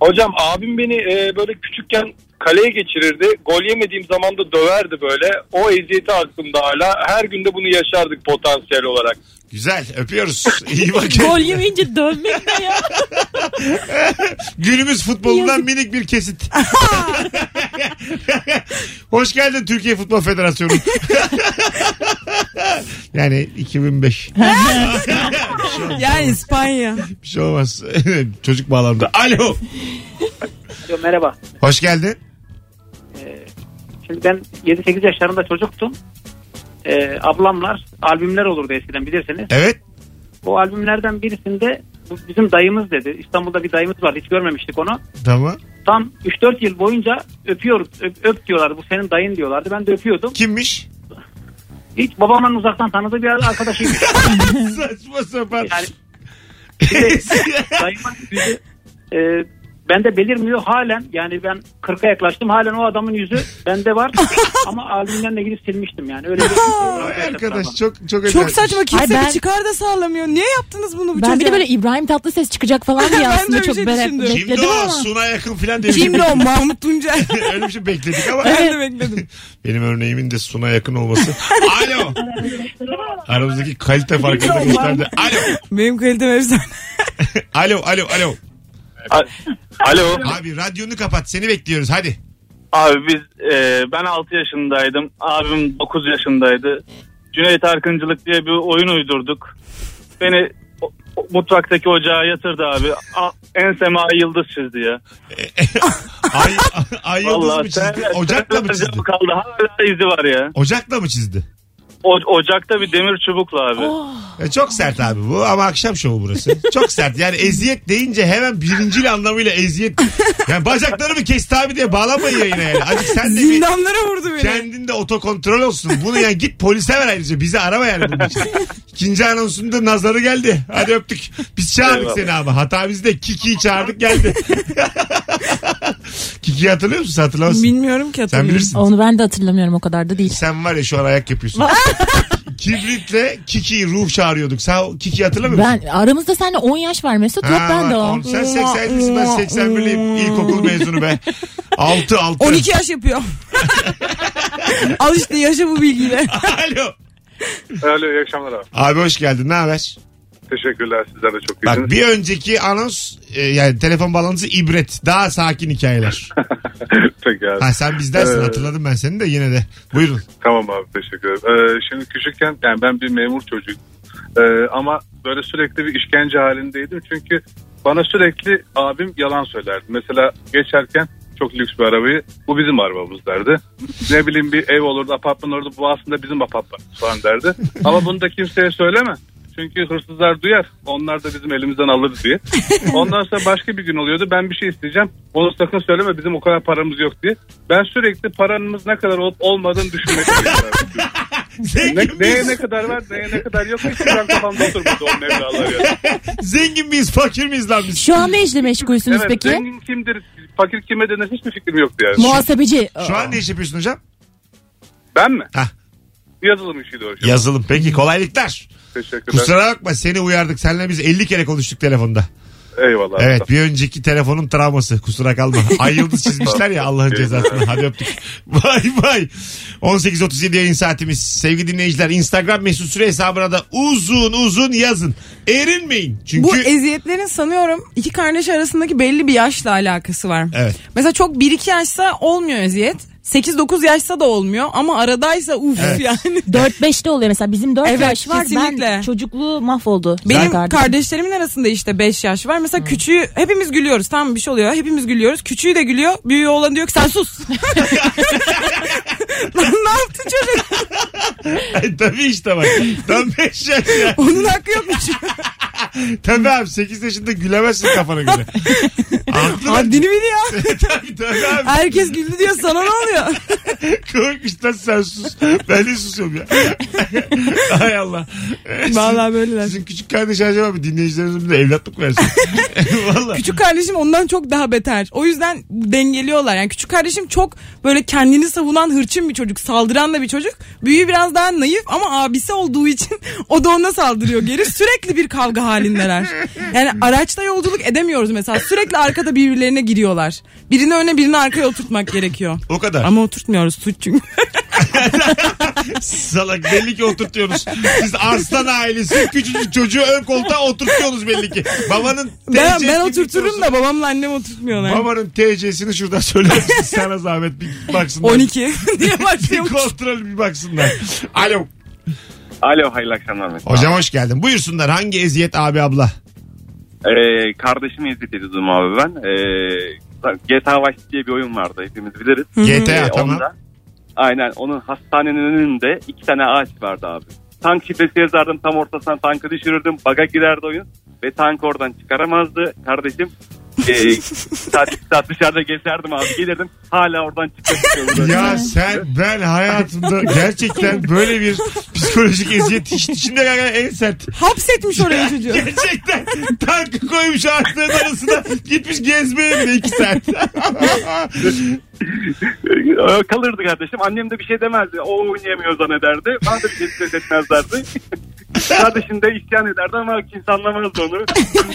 Speaker 8: Hocam abim beni e, böyle küçükken kaleye geçirirdi. Gol yemediğim zaman da döverdi böyle. O eziyeti aklımda hala. Her günde bunu yaşardık potansiyel olarak.
Speaker 2: Güzel öpüyoruz. İyi bakın.
Speaker 4: Gol yemeyince dövmek ne ya?
Speaker 2: Günümüz futbolundan minik bir kesit. Hoş geldin Türkiye Futbol Federasyonu. yani 2005.
Speaker 3: Yani İspanya.
Speaker 2: Bir şey olmaz. Çocuk bağlandı. Alo.
Speaker 9: Alo, merhaba.
Speaker 2: Hoş geldin.
Speaker 9: Şimdi ben 7-8 yaşlarında çocuktum. Ee, ablamlar albümler olurdu eskiden bilirsiniz.
Speaker 2: Evet.
Speaker 9: Bu albümlerden birisinde bu bizim dayımız dedi. İstanbul'da bir dayımız var hiç görmemiştik onu.
Speaker 2: Tamam.
Speaker 9: Tam 3-4 yıl boyunca öpüyoruz öp, öp diyorlardı bu senin dayın diyorlardı. Ben de öpüyordum.
Speaker 2: Kimmiş?
Speaker 9: Hiç babamın uzaktan tanıdığı bir arkadaşıyım.
Speaker 2: Saçma sapan.
Speaker 9: Yani dayıma yüzü, e, Bende belirmiyor halen yani ben 40'a yaklaştım halen o adamın yüzü bende var ama albümlerle gidip silmiştim yani öyle bir şey
Speaker 2: Arkadaş çok çok
Speaker 3: Çok
Speaker 2: acayip.
Speaker 3: saçma kimse
Speaker 4: Ay ben-
Speaker 3: bir çıkar da sağlamıyor. Niye yaptınız bunu
Speaker 4: Ben
Speaker 3: bu
Speaker 4: bir de
Speaker 3: çocuğa?
Speaker 4: böyle İbrahim Tatlıses çıkacak falan diye
Speaker 3: Ben de
Speaker 4: aslında
Speaker 3: öyle
Speaker 4: çok
Speaker 3: şey
Speaker 4: merak
Speaker 3: düşündüm.
Speaker 2: Kimdi
Speaker 4: bekledim
Speaker 2: o?
Speaker 4: ama.
Speaker 2: Suna yakın filan diye.
Speaker 3: Kimdi o Mahmut Tuncel?
Speaker 2: Öyle bir şey bekledik ama
Speaker 3: ben de bekledim.
Speaker 2: benim örneğimin de Suna yakın olması. Alo. Aramızdaki kalite farkında gösterdi. Alo.
Speaker 3: Benim kalitem efsane.
Speaker 2: Alo, alo, alo.
Speaker 8: Alo.
Speaker 2: Abi radyonu kapat. Seni bekliyoruz. Hadi.
Speaker 8: Abi biz e, ben 6 yaşındaydım. Abim 9 yaşındaydı. Cüneyt Arkıncılık diye bir oyun uydurduk. Beni o- o- mutfaktaki ocağa yatırdı abi. A, enseme ay yıldız çizdi ya.
Speaker 2: Ay, ay yıldız mı
Speaker 8: Vallahi sen-
Speaker 2: çizdi? Ocakla mı
Speaker 8: sen-
Speaker 2: çizdi?
Speaker 8: Kaldı. Hala izi var ya.
Speaker 2: Ocakla mı çizdi?
Speaker 8: O- ocakta bir demir çubukla abi.
Speaker 2: E, çok sert abi bu ama akşam şovu burası. Çok sert yani eziyet deyince hemen birincil anlamıyla eziyet. Yani bacaklarımı kesti abi diye bağlamayın yayına yani. Azıcık sen de bir Şey
Speaker 3: Zindanlara vurdu beni.
Speaker 2: kendinde otokontrol olsun. Bunu yani git polise ver ayrıca bizi arama yani bunun için. İkinci anonsunda nazarı geldi. Hadi öptük. Biz çağırdık
Speaker 8: Eyvallah.
Speaker 2: seni ama. Hata bizde. Kiki'yi çağırdık geldi. Kiki'yi hatırlıyor musun? Hatırlamazsın.
Speaker 3: Bilmiyorum ki
Speaker 2: Sen
Speaker 3: hatırlıyorum.
Speaker 2: bilirsin.
Speaker 4: Onu ben de hatırlamıyorum o kadar da değil.
Speaker 2: Sen var ya şu an ayak yapıyorsun. Kibritle Kiki'yi ruh çağırıyorduk. Sen o Kiki'yi hatırlamıyor musun?
Speaker 4: Ben aramızda seninle 10 yaş var Mesut yok
Speaker 2: Ha,
Speaker 4: ben de o.
Speaker 2: on- Sen 87'sin ben 81'liyim. İlkokul mezunu be. 6 6.
Speaker 3: 12 yaş yapıyor. Al işte yaşa bu bilgiyle.
Speaker 2: Alo.
Speaker 10: Alo iyi akşamlar abi.
Speaker 2: Abi hoş geldin. Ne haber?
Speaker 10: Teşekkürler sizler de çok
Speaker 2: Bak
Speaker 10: iyisiniz.
Speaker 2: bir önceki anons e, yani telefon bağlantısı ibret. Daha sakin hikayeler.
Speaker 10: Peki abi.
Speaker 2: Ha sen bizdensin
Speaker 10: Ee,
Speaker 2: hatırladım ben seni de yine de. Buyurun.
Speaker 10: Tamam abi teşekkür ederim. Ee, şimdi küçükken yani ben bir memur çocuğum. Ee, ama böyle sürekli bir işkence halindeydim. Çünkü bana sürekli abim yalan söylerdi. Mesela geçerken çok lüks bir arabayı bu bizim arabamız derdi. Ne bileyim bir ev olurdu apartman olurdu bu aslında bizim apartman falan derdi. Ama bunu da kimseye söyleme. Çünkü hırsızlar duyar. Onlar da bizim elimizden alır diye. Ondan sonra başka bir gün oluyordu. Ben bir şey isteyeceğim. Onu sakın söyleme bizim o kadar paramız yok diye. Ben sürekli paranımız ne kadar olup olmadığını düşünmek istiyorum. Ne,
Speaker 2: Zengin
Speaker 10: neye
Speaker 2: miyiz?
Speaker 10: ne kadar var neye ne kadar yok. Hiç ben kafamda oturmadı o mevlalar ya.
Speaker 2: Zengin miyiz? Fakir miyiz lan biz?
Speaker 4: Şu an ne işle meşgulsünüz
Speaker 10: Evet
Speaker 4: peki?
Speaker 10: zengin kimdir fakir kime denir hiçbir fikrim yoktu yani.
Speaker 4: Muhasebeci.
Speaker 2: Şu an ne iş yapıyorsun hocam?
Speaker 10: ben mi?
Speaker 2: Hah.
Speaker 10: Yazılım işiydi o şey.
Speaker 2: Yazılım. Peki kolaylıklar.
Speaker 10: Teşekkürler.
Speaker 2: Kusura bakma seni uyardık. Seninle biz 50 kere konuştuk telefonda.
Speaker 10: Eyvallah.
Speaker 2: Evet bir önceki telefonun travması. Kusura kalma. Ay yıldız çizmişler ya Allah'ın cezasını. Hadi öptük. Bay bay. 18.37 yayın saatimiz. Sevgili dinleyiciler Instagram mesut süre hesabına da uzun uzun yazın. Erinmeyin. Çünkü...
Speaker 3: Bu eziyetlerin sanıyorum iki kardeş arasındaki belli bir yaşla alakası var.
Speaker 2: Evet.
Speaker 3: Mesela çok 1-2 yaşsa olmuyor eziyet. 8-9 yaşsa da olmuyor ama aradaysa uf
Speaker 2: Evet.
Speaker 3: yani.
Speaker 4: 4-5'te oluyor mesela bizim 4
Speaker 3: Evet,
Speaker 4: yaş var ben
Speaker 3: kesinlikle.
Speaker 4: çocukluğu mahvoldu.
Speaker 3: Benim
Speaker 4: Kardeşim.
Speaker 3: kardeşlerimin arasında işte 5 yaş var. Mesela küçüğü hepimiz gülüyoruz. Tamam bir şey oluyor. Hepimiz gülüyoruz. Küçüğü de gülüyor. Büyüğü olan diyor ki sen sus. Lan ne yaptı çocuk?
Speaker 2: Tabii işte bak. Tam 5 yaş ya.
Speaker 3: Onun hakkı yokmuş.
Speaker 2: Tabii abi 8 yaşında gülemezsin kafana göre. Haklı lan.
Speaker 3: Haddini bil ya.
Speaker 2: Tabii tabii abi.
Speaker 3: Herkes güldü diyor sana ne oluyor?
Speaker 2: Korkmuş lan sen sus. Ben de susuyorum ya. Hay Allah.
Speaker 3: Vallahi böyleler.
Speaker 2: Sizin küçük kardeş acaba bir dinleyicilerimizin de evlatlık versin. Valla.
Speaker 3: Küçük kardeşim ondan çok daha beter. O yüzden dengeliyorlar. Yani küçük kardeşim çok böyle kendini savunan hırçın bir çocuk. Saldıran da bir çocuk. Büyüğü biraz daha naif ama abisi olduğu için o da ona saldırıyor geri. Sürekli bir kavga halindeler. Yani araçta yolculuk edemiyoruz mesela. Sürekli arkada birbirlerine giriyorlar. Birini öne birini arkaya oturtmak gerekiyor.
Speaker 2: O kadar.
Speaker 3: Ama oturtmuyoruz suç çünkü.
Speaker 2: Salak belli ki oturtuyoruz. Siz Arslan ailesi küçücük çocuğu ön koltuğa oturtuyorsunuz belli ki. Babanın
Speaker 3: ben,
Speaker 2: TC'si
Speaker 3: ben
Speaker 2: gibi
Speaker 3: oturturum
Speaker 2: olsun.
Speaker 3: da babamla annem oturtmuyorlar.
Speaker 2: Babanın TC'sini şuradan söyler misin? Sana zahmet bir baksınlar.
Speaker 3: 12 diye
Speaker 2: Bir
Speaker 3: başlıyormuş.
Speaker 2: kontrol bir baksınlar. Alo.
Speaker 10: Alo hayırlı akşamlar.
Speaker 2: Hocam hoş geldin. Buyursunlar hangi eziyet abi abla?
Speaker 10: Ee, kardeşimi ezit ediyordum abi ben. ee, GTA Vice diye bir oyun vardı hepimiz biliriz.
Speaker 2: GTA
Speaker 10: Ee,
Speaker 2: tamam.
Speaker 10: onda- aynen onun hastanenin önünde iki tane ağaç vardı abi. Tank şifresi yazardım tam ortasına tankı düşürürdüm. Baga girerdi oyun ve tank oradan çıkaramazdı. Kardeşim ee,
Speaker 8: e, saat, iki saat dışarıda gezerdim abi. Gelirdim hala oradan çıkmak istiyorum.
Speaker 2: Ya sen ben hayatımda gerçekten böyle bir psikolojik eziyet işin içinde gelen en sert.
Speaker 3: Hapsetmiş oraya çocuğu.
Speaker 2: Gerçekten tankı koymuş ağaçların arasına gitmiş gezmeye bile iki saat.
Speaker 8: Ee, Kalırdı kardeşim. Annem de bir şey demezdi. O oynayamıyor zannederdi. Bana da bir şey ses etmezlerdi. Kardeşim de isyan ederdi ama kimse anlamazdı onu.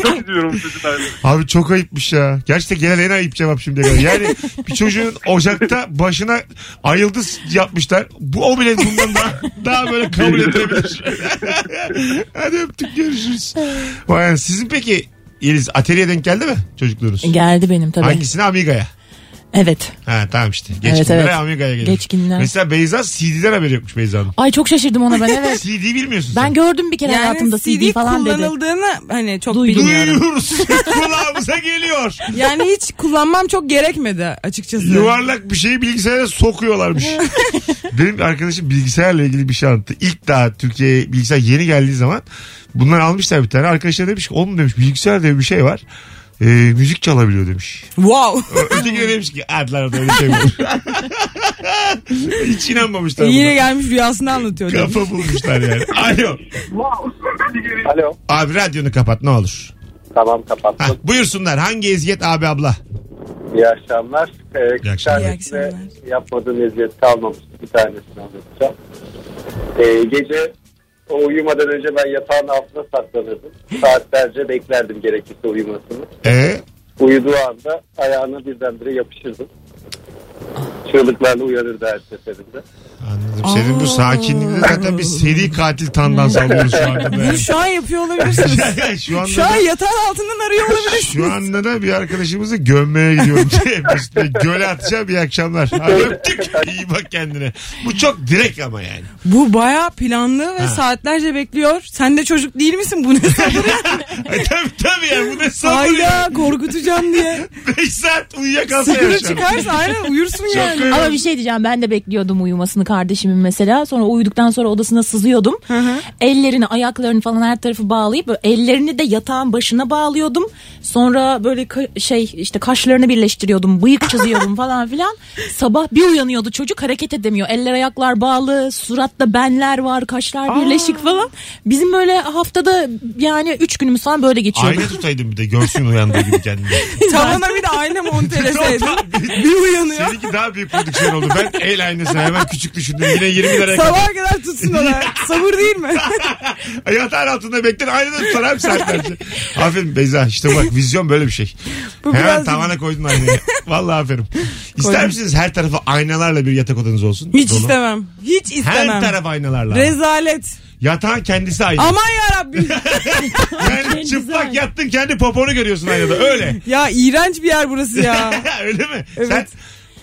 Speaker 8: Çok üzülüyorum çocuklar.
Speaker 2: Abi çok ayıpmış ya. Gerçekten genel en ayıp cevap şimdiye kadar. Yani bir çocuğun ocakta başına ayıldız yapmışlar. Bu o bile bundan daha, daha böyle kabul edilebilir. Hadi öptük görüşürüz. Vay, anasını. sizin peki Yeliz ateliye denk geldi mi çocukluğunuz?
Speaker 4: Geldi benim tabii.
Speaker 2: Hangisine Amiga'ya?
Speaker 4: Evet.
Speaker 2: Ha tamam işte. Geçkinlere
Speaker 4: evet.
Speaker 2: Amiga'ya gelir.
Speaker 4: Geçkinler.
Speaker 2: Mesela Beyza CD'den haberi yokmuş Beyza'nın.
Speaker 4: Ay çok şaşırdım ona ben evet.
Speaker 2: CD bilmiyorsun
Speaker 4: ben
Speaker 2: sen.
Speaker 4: gördüm bir kere
Speaker 3: Yani
Speaker 4: hayatımda CD, falan dedi.
Speaker 3: kullanıldığını hani çok
Speaker 4: Duydum.
Speaker 3: bilmiyorum.
Speaker 2: Duyuyoruz. Kulağımıza geliyor.
Speaker 3: Yani hiç kullanmam çok gerekmedi açıkçası.
Speaker 2: Yuvarlak bir şeyi bilgisayara sokuyorlarmış. Benim arkadaşım bilgisayarla ilgili bir şey anlattı. İlk daha Türkiye'ye bilgisayar yeni geldiği zaman bunlar almışlar bir tane. Arkadaşlar demiş ki oğlum demiş bilgisayar diye bir şey var. Ee, müzik çalabiliyor demiş.
Speaker 3: Wow.
Speaker 2: Ö- Öteki de demiş ki adlar da öyle şey mi olur?" Hiç inanmamışlar
Speaker 3: Yine
Speaker 2: buna.
Speaker 3: gelmiş rüyasını anlatıyor. demiş.
Speaker 2: Kafa bulmuşlar yani. Alo.
Speaker 9: Alo.
Speaker 2: Abi radyonu kapat ne olur.
Speaker 9: Tamam kapattım.
Speaker 2: Hah, buyursunlar hangi eziyet abi abla?
Speaker 9: İyi akşamlar. Ee,
Speaker 2: İyi
Speaker 9: kız
Speaker 2: akşamlar.
Speaker 9: kardeşimle
Speaker 3: İyi akşamlar.
Speaker 9: yapmadığım eziyet kalmamış. Bir tanesini anlatacağım. Ee, gece o uyumadan önce ben yatağın altına saklanırdım. Saatlerce beklerdim gerekirse uyumasını.
Speaker 2: Ee,
Speaker 9: Uyuduğu anda ayağına birdenbire yapışırdım. Çığlıklarla uyanırdı her seferinde.
Speaker 2: anladım. Senin bu sakinliğinde zaten bir seri katil tandansı alıyoruz şu anda.
Speaker 3: Bunu
Speaker 2: Böyle.
Speaker 3: şu an yapıyor olabilirsiniz.
Speaker 2: şu anda
Speaker 3: Şu an yatağın altından arıyor olabilirsiniz.
Speaker 2: Şu anda da bir arkadaşımızı gömmeye gidiyorum diye Mesut'e göle atacağım iyi akşamlar. Hadi öptük. İyi bak kendine. Bu çok direkt ama yani.
Speaker 3: Bu bayağı planlı ve saatlerce bekliyor. Sen de çocuk değil misin? Bu ne sabır ya?
Speaker 2: Ay, E, tabii tabii yani bu ne sabır ya.
Speaker 3: Hayda korkutacağım diye.
Speaker 2: 5 saat uyuyakalsa
Speaker 3: Sıkıntı
Speaker 2: yaşar.
Speaker 3: çıkarsa aynen uyursun yani.
Speaker 2: kıyım.
Speaker 4: Ama bir şey diyeceğim ben de bekliyordum uyumasını kardeşimin mesela. Sonra uyuduktan sonra odasına sızıyordum. Ellerini ayaklarını falan her tarafı bağlayıp böyle ellerini de yatağın başına bağlıyordum. Sonra böyle ka- şey işte kaşlarını birleştiriyordum. Bıyık çiziyordum falan filan. Sabah bir uyanıyordu çocuk hareket edemiyor. Eller ayaklar bağlı suratta benler var kaşlar birleşik falan. Bizim böyle haftada yani üç günümüz falan böyle geçiyordu.
Speaker 2: Ayna tutaydım bir de görsün uyandığı gibi kendini.
Speaker 3: Tavana bir de ayna monteleseydin.
Speaker 2: Tabii.
Speaker 3: bir uyanıyor.
Speaker 2: Seninki daha büyük prodüksiyon oldu. Ben el aynasını hemen küçük düşündüm. Yine 20 liraya
Speaker 3: Sabaha kadar tutsun ona. Sabır değil mi?
Speaker 2: Yatağın altında bekler aynada tutar abi saatlerce. aferin Beyza işte bak vizyon böyle bir şey.
Speaker 3: Bu
Speaker 2: Hemen
Speaker 3: biraz-
Speaker 2: tavana koydun aynayı. Vallahi aferin. İster
Speaker 3: Koydum.
Speaker 2: misiniz her tarafı aynalarla bir yatak odanız olsun?
Speaker 3: Hiç
Speaker 2: Dolu.
Speaker 3: istemem. Hiç
Speaker 2: Her
Speaker 3: istemem.
Speaker 2: taraf aynalarla.
Speaker 3: Rezalet.
Speaker 2: Yatağın kendisi ayna.
Speaker 3: Aman ya Rabbim.
Speaker 2: yani çıplak yattın kendi poponu görüyorsun aynada öyle.
Speaker 3: ya iğrenç bir yer burası ya.
Speaker 2: öyle mi?
Speaker 3: Evet.
Speaker 2: Sen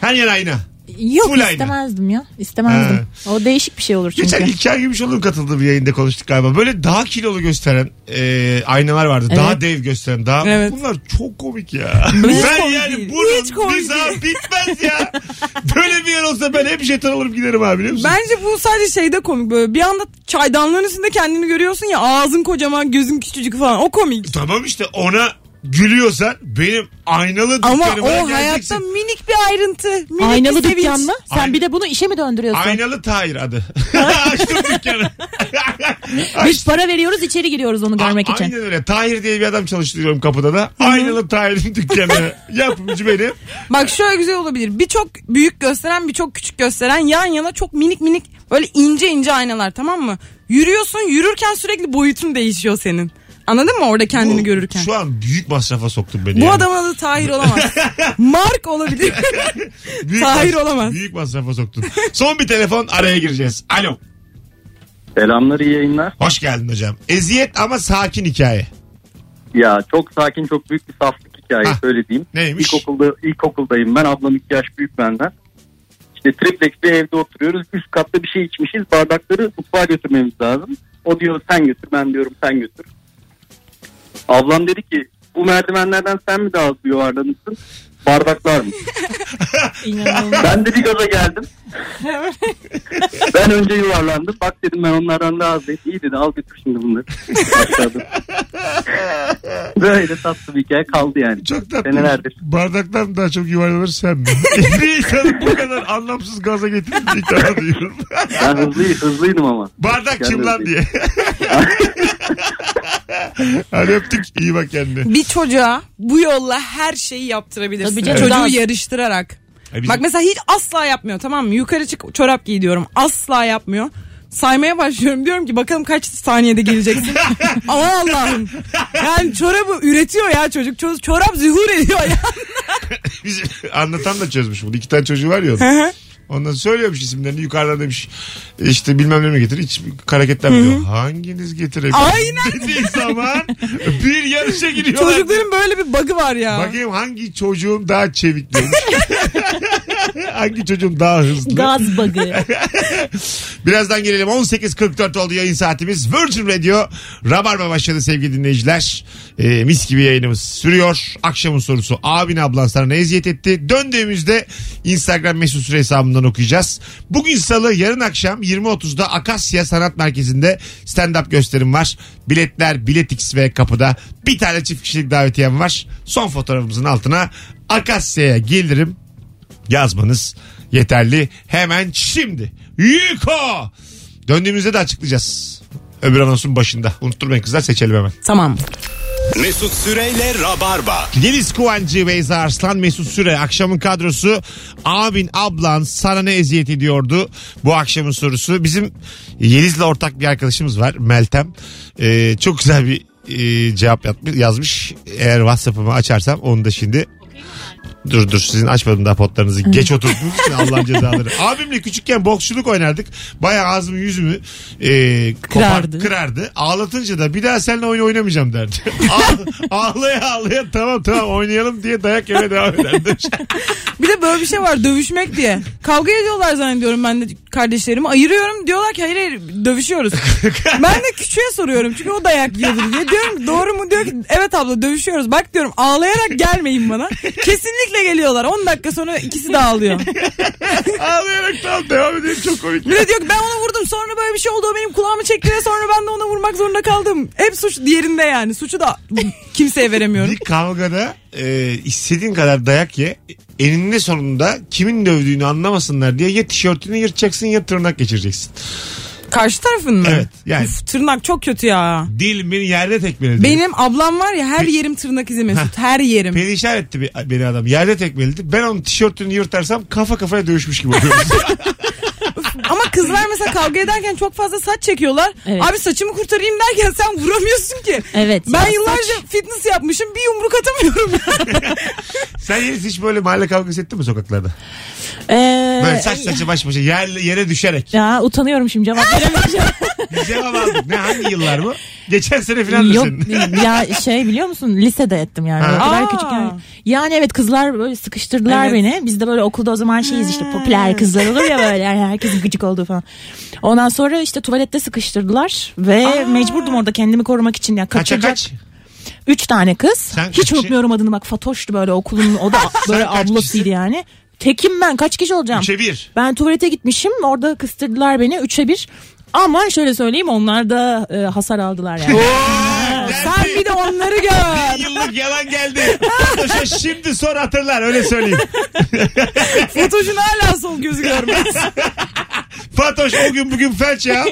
Speaker 2: her yer ayna.
Speaker 4: Yok
Speaker 2: Full ayna.
Speaker 4: istemezdim ya istemezdim. O değişik bir şey olur çünkü.
Speaker 2: Geçen İlker Gümüşoğlu'nun katıldığı bir yayında konuştuk galiba. Böyle daha kilolu gösteren e, aynalar vardı. Daha
Speaker 4: Evet.
Speaker 2: dev gösteren. Daha...
Speaker 3: Evet.
Speaker 2: Bunlar çok komik ya. ben
Speaker 3: komik
Speaker 2: yani
Speaker 3: değil. Hiç
Speaker 2: bunun
Speaker 3: komik
Speaker 2: mizahı
Speaker 3: değil.
Speaker 2: bitmez ya. Böyle bir yer olsa ben hep jeton olup giderim abi biliyor musun?
Speaker 3: Bence bu sadece şeyde komik böyle. Bir anda çaydanlığın üstünde kendini görüyorsun ya ağzın kocaman gözün küçücük falan. O komik.
Speaker 2: Tamam işte ona gülüyorsan benim aynalı
Speaker 3: Ama
Speaker 2: dükkanıma
Speaker 3: o
Speaker 2: geleceksin.
Speaker 3: hayatta minik bir ayrıntı. Minik
Speaker 4: Aynalı
Speaker 3: bir sevinç.
Speaker 4: dükkan mı? Sen
Speaker 2: Aynen.
Speaker 4: bir de bunu işe mi döndürüyorsun?
Speaker 2: Aynalı Tahir adı. Açtım dükkanı.
Speaker 4: Biz para veriyoruz içeri giriyoruz onu görmek
Speaker 2: A-
Speaker 4: için.
Speaker 2: Aynen öyle. Tahir diye bir adam çalıştırıyorum kapıda da. Aynalı Tahir'in dükkanı. Yapımcı benim.
Speaker 3: Bak şöyle güzel olabilir. Birçok büyük gösteren birçok küçük gösteren yan yana çok minik minik böyle ince ince aynalar tamam mı? Yürüyorsun yürürken sürekli boyutun değişiyor senin. Anladın mı orada kendini
Speaker 2: Bu-
Speaker 3: görürken?
Speaker 2: Şu an büyük masrafa soktun beni.
Speaker 3: Bu
Speaker 2: yani.
Speaker 3: adamın adı Tahir olamaz. Mark olabilir.
Speaker 2: büyük
Speaker 3: Tahir olamaz.
Speaker 2: Büyük masrafa soktun. Son bir telefon araya gireceğiz. Alo.
Speaker 9: Selamlar iyi yayınlar.
Speaker 2: Hoş geldin hocam. Eziyet ama sakin hikaye.
Speaker 9: Ya çok sakin çok büyük bir saflık hikaye
Speaker 2: Hah.
Speaker 9: söylediğim.
Speaker 2: Neymiş?
Speaker 9: İlkokulda, ilkokuldayım ben ablam iki yaş büyük benden. İşte triplex bir evde oturuyoruz üst katta bir şey içmişiz bardakları mutfağa götürmemiz lazım. O diyor sen götür ben diyorum sen götür. Ablam dedi ki bu merdivenlerden sen mi daha hızlı yuvarlanırsın bardaklar mı?
Speaker 4: İnanılmaz.
Speaker 9: Ben de bir gaza geldim. Ben önce yuvarlandım. Bak dedim ben onlardan daha azayım. İyi dedi al götür şimdi bunları. Aşağıda. Böyle tatlı bir hikaye kaldı yani.
Speaker 2: Çok tatlı.
Speaker 9: Senelerdir.
Speaker 2: Bardaktan daha çok yuvarlanır sen mi? bir insanı bu kadar anlamsız gaza getirir bir tane duyuyorum.
Speaker 9: Ben hızlıyım, hızlıydım ama.
Speaker 2: Bardak kim
Speaker 9: Kendim
Speaker 2: lan diye. Hadi öptük. İyi bak kendine.
Speaker 3: Bir çocuğa bu yolla her şeyi yaptırabilirsin.
Speaker 4: Tabii canım.
Speaker 3: Çocuğu
Speaker 4: Evet.
Speaker 3: yarıştırarak.
Speaker 2: Ay bizim-
Speaker 3: Bak mesela hiç asla yapmıyor tamam mı? Yukarı çık çorap giy diyorum. Asla yapmıyor. Saymaya başlıyorum diyorum ki bakalım kaç saniyede geleceksin. Aman Allah'ım. Yani çorabı üretiyor ya çocuk. Ço- Çorap zuhur ediyor ya.
Speaker 2: Biz anlatan da çözmüş bunu. İki tane çocuğu var ya onun. Ondan söylüyormuş isimlerini yukarıda demiş. İşte bilmem ne mi getir. Hiç hareketlenmiyor. Hanginiz getirebilir?
Speaker 3: Aynen.
Speaker 2: Dediği zaman bir yarışa giriyorlar.
Speaker 3: Çocukların böyle bir bug'ı var ya.
Speaker 2: Bakayım hangi çocuğum daha çevik demiş. hangi çocuğum daha hızlı.
Speaker 4: Gaz bagı.
Speaker 2: Birazdan gelelim. 18.44 oldu yayın saatimiz. Virgin Radio Rabarba başladı sevgili dinleyiciler. Ee, mis gibi yayınımız sürüyor. Akşamın sorusu abin ablan sana ne eziyet etti? Döndüğümüzde Instagram mesut süre hesabından okuyacağız. Bugün salı yarın akşam 20.30'da Akasya Sanat Merkezi'nde stand-up gösterim var. Biletler Biletix ve kapıda bir tane çift kişilik davetiyem var. Son fotoğrafımızın altına Akasya'ya gelirim yazmanız yeterli. Hemen şimdi. Yuko! Döndüğümüzde de açıklayacağız. Öbür anonsun başında. Unutturmayın kızlar seçelim hemen.
Speaker 3: Tamam.
Speaker 1: Mesut Süreyle Rabarba.
Speaker 2: Deniz Kuvancı, Beyza Arslan, Mesut Süre. Akşamın kadrosu abin ablan sana ne eziyet ediyordu bu akşamın sorusu. Bizim Yeliz'le ortak bir arkadaşımız var Meltem. Ee, çok güzel bir e, cevap yapmış, yazmış. Eğer Whatsapp'ımı açarsam onu da şimdi Dur dur sizin açmadım daha potlarınızı. Geç oturdunuz için Allah'ın cezaları. Abimle küçükken boksçuluk oynardık. Bayağı ağzımı yüzümü e,
Speaker 4: Kırardı.
Speaker 2: kırardı. kırardı. Ağlatınca da bir daha seninle oyun oynamayacağım derdi. Ağ- ağlaya ağlaya tamam tamam oynayalım diye dayak yemeye devam ederdi.
Speaker 3: Bir de böyle bir şey var dövüşmek diye. Kavga ediyorlar zannediyorum ben de kardeşlerimi. Ayırıyorum diyorlar ki hayır hayır dövüşüyoruz. ben de küçüğe soruyorum çünkü o dayak yiyordu diye. Diyorum ki, doğru mu diyor ki evet abla dövüşüyoruz. Bak diyorum ağlayarak gelmeyin bana. Kesinlikle geliyorlar 10 dakika sonra ikisi de ağlıyor.
Speaker 2: Ağlayarak tamam devam edelim çok komik.
Speaker 3: Bir de diyor ki ben ona vurdum sonra böyle bir şey oldu o benim kulağımı çekti ve sonra ben de ona vurmak zorunda kaldım. Hep suç diğerinde yani suçu da kimseye veremiyorum.
Speaker 2: Bir kavgada e, istediğin kadar dayak ye. Eninde sonunda kimin dövdüğünü anlamasınlar diye ya tişörtünü yırtacaksın ya tırnak geçireceksin.
Speaker 3: Karşı tarafın mı?
Speaker 2: Evet, yani.
Speaker 3: Uf, tırnak çok kötü ya.
Speaker 2: Dil beni yerde tekmeledi.
Speaker 3: Benim ablam var ya her yerim tırnak izi Mesut. Her yerim.
Speaker 2: Perişan etti bi- beni adam. Yerde tekmeledi. Ben onun tişörtünü yırtarsam kafa kafaya dövüşmüş gibi oluyoruz.
Speaker 3: Ama kızlar mesela kavga ederken çok fazla saç çekiyorlar.
Speaker 4: Evet.
Speaker 3: Abi saçımı kurtarayım derken sen vuramıyorsun ki.
Speaker 4: Evet,
Speaker 3: Ben
Speaker 4: ya
Speaker 3: yıllarca fitness yapmışım bir yumruk atamıyorum.
Speaker 2: Sen Yeliz hiç böyle mahalle kavgası ettin mi sokaklarda?
Speaker 4: Ee,
Speaker 2: Böyle saç saçı baş başa yer, yere düşerek.
Speaker 4: Ya utanıyorum şimdi cevap veremeyeceğim.
Speaker 2: Bir cevap aldık. Ne hangi yıllar bu? Geçen sene filan da
Speaker 4: Yok
Speaker 2: senin.
Speaker 4: ya şey biliyor musun lisede ettim yani.
Speaker 2: Ha.
Speaker 4: O kadar
Speaker 3: Aa.
Speaker 4: küçük yani. Yani evet kızlar böyle sıkıştırdılar
Speaker 3: Evet.
Speaker 4: beni. Biz de böyle okulda o zaman şeyiz işte popüler kızlar olur ya böyle yani herkesin gıcık olduğu falan. Ondan sonra işte tuvalette sıkıştırdılar ve mecburdum orada kendimi korumak için ya yani
Speaker 2: Kaça
Speaker 4: kaçacak.
Speaker 2: kaç?
Speaker 4: Üç tane kız.
Speaker 2: Sen
Speaker 4: Hiç
Speaker 2: kaçı-
Speaker 4: unutmuyorum adını bak Fatoş'tu böyle okulun o da böyle
Speaker 2: kaç kişisin?
Speaker 4: ablasıydı yani. Tekim ben kaç kişi olacağım?
Speaker 2: Üçe bir. şey-
Speaker 4: Ben tuvalete gitmişim orada kıstırdılar beni üçe bir. Ama şöyle söyleyeyim onlar da e, hasar aldılar yani.
Speaker 3: sen bir de onları
Speaker 2: Bir
Speaker 3: gör.
Speaker 2: yıllık yalan geldi. Arkadaşlar şimdi sor hatırlar öyle söyleyeyim.
Speaker 3: Fotoşun hala sol gözü görmez.
Speaker 2: Fatoş o gün bugün felç ya.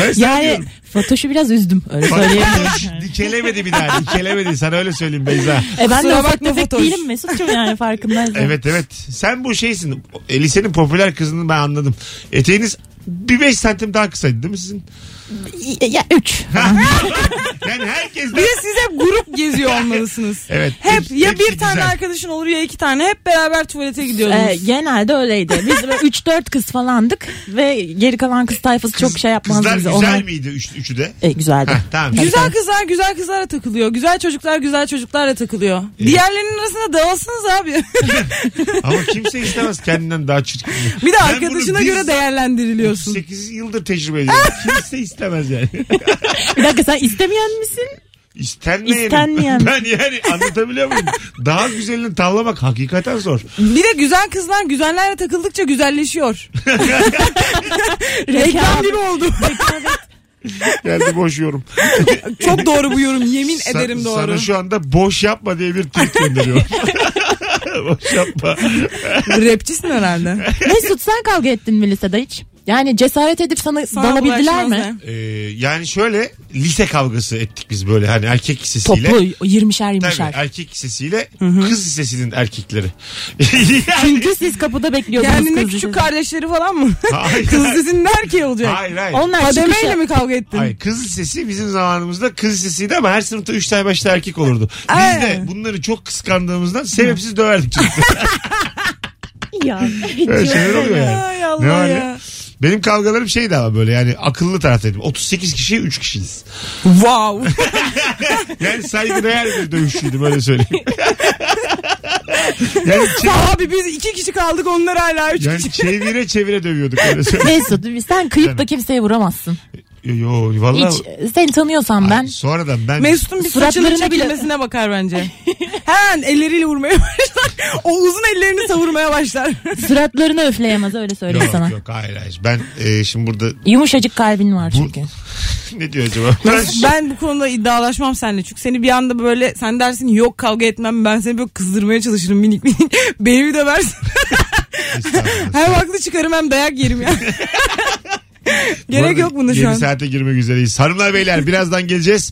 Speaker 2: Ben sana
Speaker 4: yani
Speaker 2: diyorum.
Speaker 4: Fatoş'u biraz üzdüm öyle söyleyeyim.
Speaker 2: Fatoş dikelemedi bir daha. Dikelemedi sana öyle söyleyeyim Beyza.
Speaker 4: e ben de
Speaker 3: Kusura
Speaker 4: ufak
Speaker 3: bakma
Speaker 4: tefek
Speaker 3: Fatoş.
Speaker 4: değilim Mesut'cum yani farkındaysan.
Speaker 2: Evet evet. Sen bu şeysin. E, Lisenin popüler kızını ben anladım. Eteğiniz bir 5 santim daha kısaydı değil mi sizin?
Speaker 4: Y- Ya üç.
Speaker 2: Yani herkes
Speaker 3: Bir
Speaker 2: de...
Speaker 3: de siz hep grup geziyor olmalısınız.
Speaker 2: Evet.
Speaker 3: Hep ya
Speaker 2: Hepsi
Speaker 3: bir tane
Speaker 2: güzel.
Speaker 3: arkadaşın olur ya iki tane. Hep beraber tuvalete
Speaker 4: E,
Speaker 3: gidiyordunuz.
Speaker 4: genelde öyleydi. Biz böyle üç dört kız falandık ve geri kalan kız tayfası çok şey yapmazdı
Speaker 2: Kızlar
Speaker 4: bize.
Speaker 2: güzel
Speaker 4: Onlar-
Speaker 2: miydi üç, üçü de?
Speaker 4: E, güzeldi.
Speaker 2: Heh, tamam.
Speaker 4: Tabii,
Speaker 3: Güzel
Speaker 4: tabii.
Speaker 3: kızlar güzel kızlara takılıyor. Güzel çocuklar güzel çocuklarla takılıyor.
Speaker 2: Ee.
Speaker 3: Diğerlerinin arasında dağılsınız abi.
Speaker 2: Ama kimse istemez kendinden daha çirkin.
Speaker 3: Bir de
Speaker 2: Ben
Speaker 3: arkadaşına
Speaker 2: bunu
Speaker 3: göre
Speaker 2: biz-
Speaker 3: değerlendiriliyorsun.
Speaker 2: 8 yıldır tecrübe ediyorum. kimse istemez yani.
Speaker 4: Bir dakika sen istemeyen misin?
Speaker 2: İstenmeyen.
Speaker 4: İstenmeyen.
Speaker 2: Ben yani anlatabiliyor muyum? Daha güzelini tavlamak hakikaten zor.
Speaker 3: Bir de güzel kızlar güzellerle takıldıkça güzelleşiyor. Reklam gibi oldu.
Speaker 2: Geldi boş yorum.
Speaker 3: Çok doğru bu yorum. Yemin
Speaker 2: Sa-
Speaker 3: ederim doğru.
Speaker 2: Sana şu anda boş yapma diye bir tweet gönderiyorum. boş yapma.
Speaker 3: Rapçisin herhalde.
Speaker 4: Mesut sen kavga ettin mi lisede hiç? Yani cesaret edip sana,
Speaker 3: Sana
Speaker 4: dalabildiler mi?
Speaker 3: bulaşmazlar.
Speaker 2: Ee, yani şöyle lise kavgası ettik biz böyle hani erkek lisesiyle.
Speaker 4: Toplu 20'şer
Speaker 2: Tabii,
Speaker 4: 20'şer.
Speaker 2: erkek lisesiyle kız lisesinin erkekleri. yani,
Speaker 4: Çünkü siz kapıda bekliyordunuz
Speaker 3: Kendine
Speaker 4: kız
Speaker 3: küçük
Speaker 4: lisesi.
Speaker 3: kardeşleri falan mı?
Speaker 2: Hayır.
Speaker 3: Kız dizinin erkeği olacak.
Speaker 2: hayır hayır.
Speaker 4: Onlar
Speaker 3: Ademeyle
Speaker 4: çıkışa.
Speaker 3: mi kavga ettin?
Speaker 2: Hayır kız lisesi bizim zamanımızda kız lisesiydi ama her sınıfta 3 tane 5 tane erkek olurdu. Biz
Speaker 3: Ee.
Speaker 2: de bunları çok kıskandığımızdan sebepsiz döverdik çocukları.
Speaker 4: Ya.
Speaker 2: Öyle şeyler oluyor yani.
Speaker 3: Ay Allah
Speaker 2: Ne var ne?
Speaker 3: ya.
Speaker 2: Benim kavgalarım şeydi ama böyle yani akıllı taraftaydım. 38 kişi 3 kişiyiz.
Speaker 3: Wow.
Speaker 2: Yani saygıdeğer bir dövüşçüydü böyle söyleyeyim. yani, çe-
Speaker 3: Abi biz iki kişi kaldık onlar hala üç
Speaker 2: yani
Speaker 3: kişi.
Speaker 2: çevire çevire dövüyorduk öyle söyleyeyim.
Speaker 4: Mesut sen kıyıp da kimseye vuramazsın.
Speaker 2: Yo, yo valla.
Speaker 4: Hiç seni tanıyorsam ben.
Speaker 2: Sonradan ben
Speaker 3: Mesut'un bir saçının
Speaker 4: Suratlarına bile-
Speaker 3: çekilmesine bakar bence. Hemen elleriyle vurmaya başlar. O uzun ellerini savurmaya başlar.
Speaker 4: Suratlarını öfleyemez öyle söyleyeyim
Speaker 2: Yok
Speaker 4: sana.
Speaker 2: yok hayır hayır. Ben e, şimdi burada
Speaker 4: Yumuşacık kalbin var
Speaker 2: Bu-
Speaker 4: çünkü.
Speaker 2: ne diyor acaba? Ben şu-
Speaker 3: ben bu konuda iddialaşmam seninle. Çünkü seni bir anda böyle sen dersin yok kavga etmem ben seni böyle kızdırmaya çalışırım minik minik. Beni bir döversin.
Speaker 2: Estağfurullah.
Speaker 3: Hem haklı çıkarım hem dayak yerim ya. Gerek
Speaker 2: arada
Speaker 3: yok bunda
Speaker 2: yeni
Speaker 3: şu an.
Speaker 2: saate girmek üzereyiz. Hanımlar beyler birazdan geleceğiz.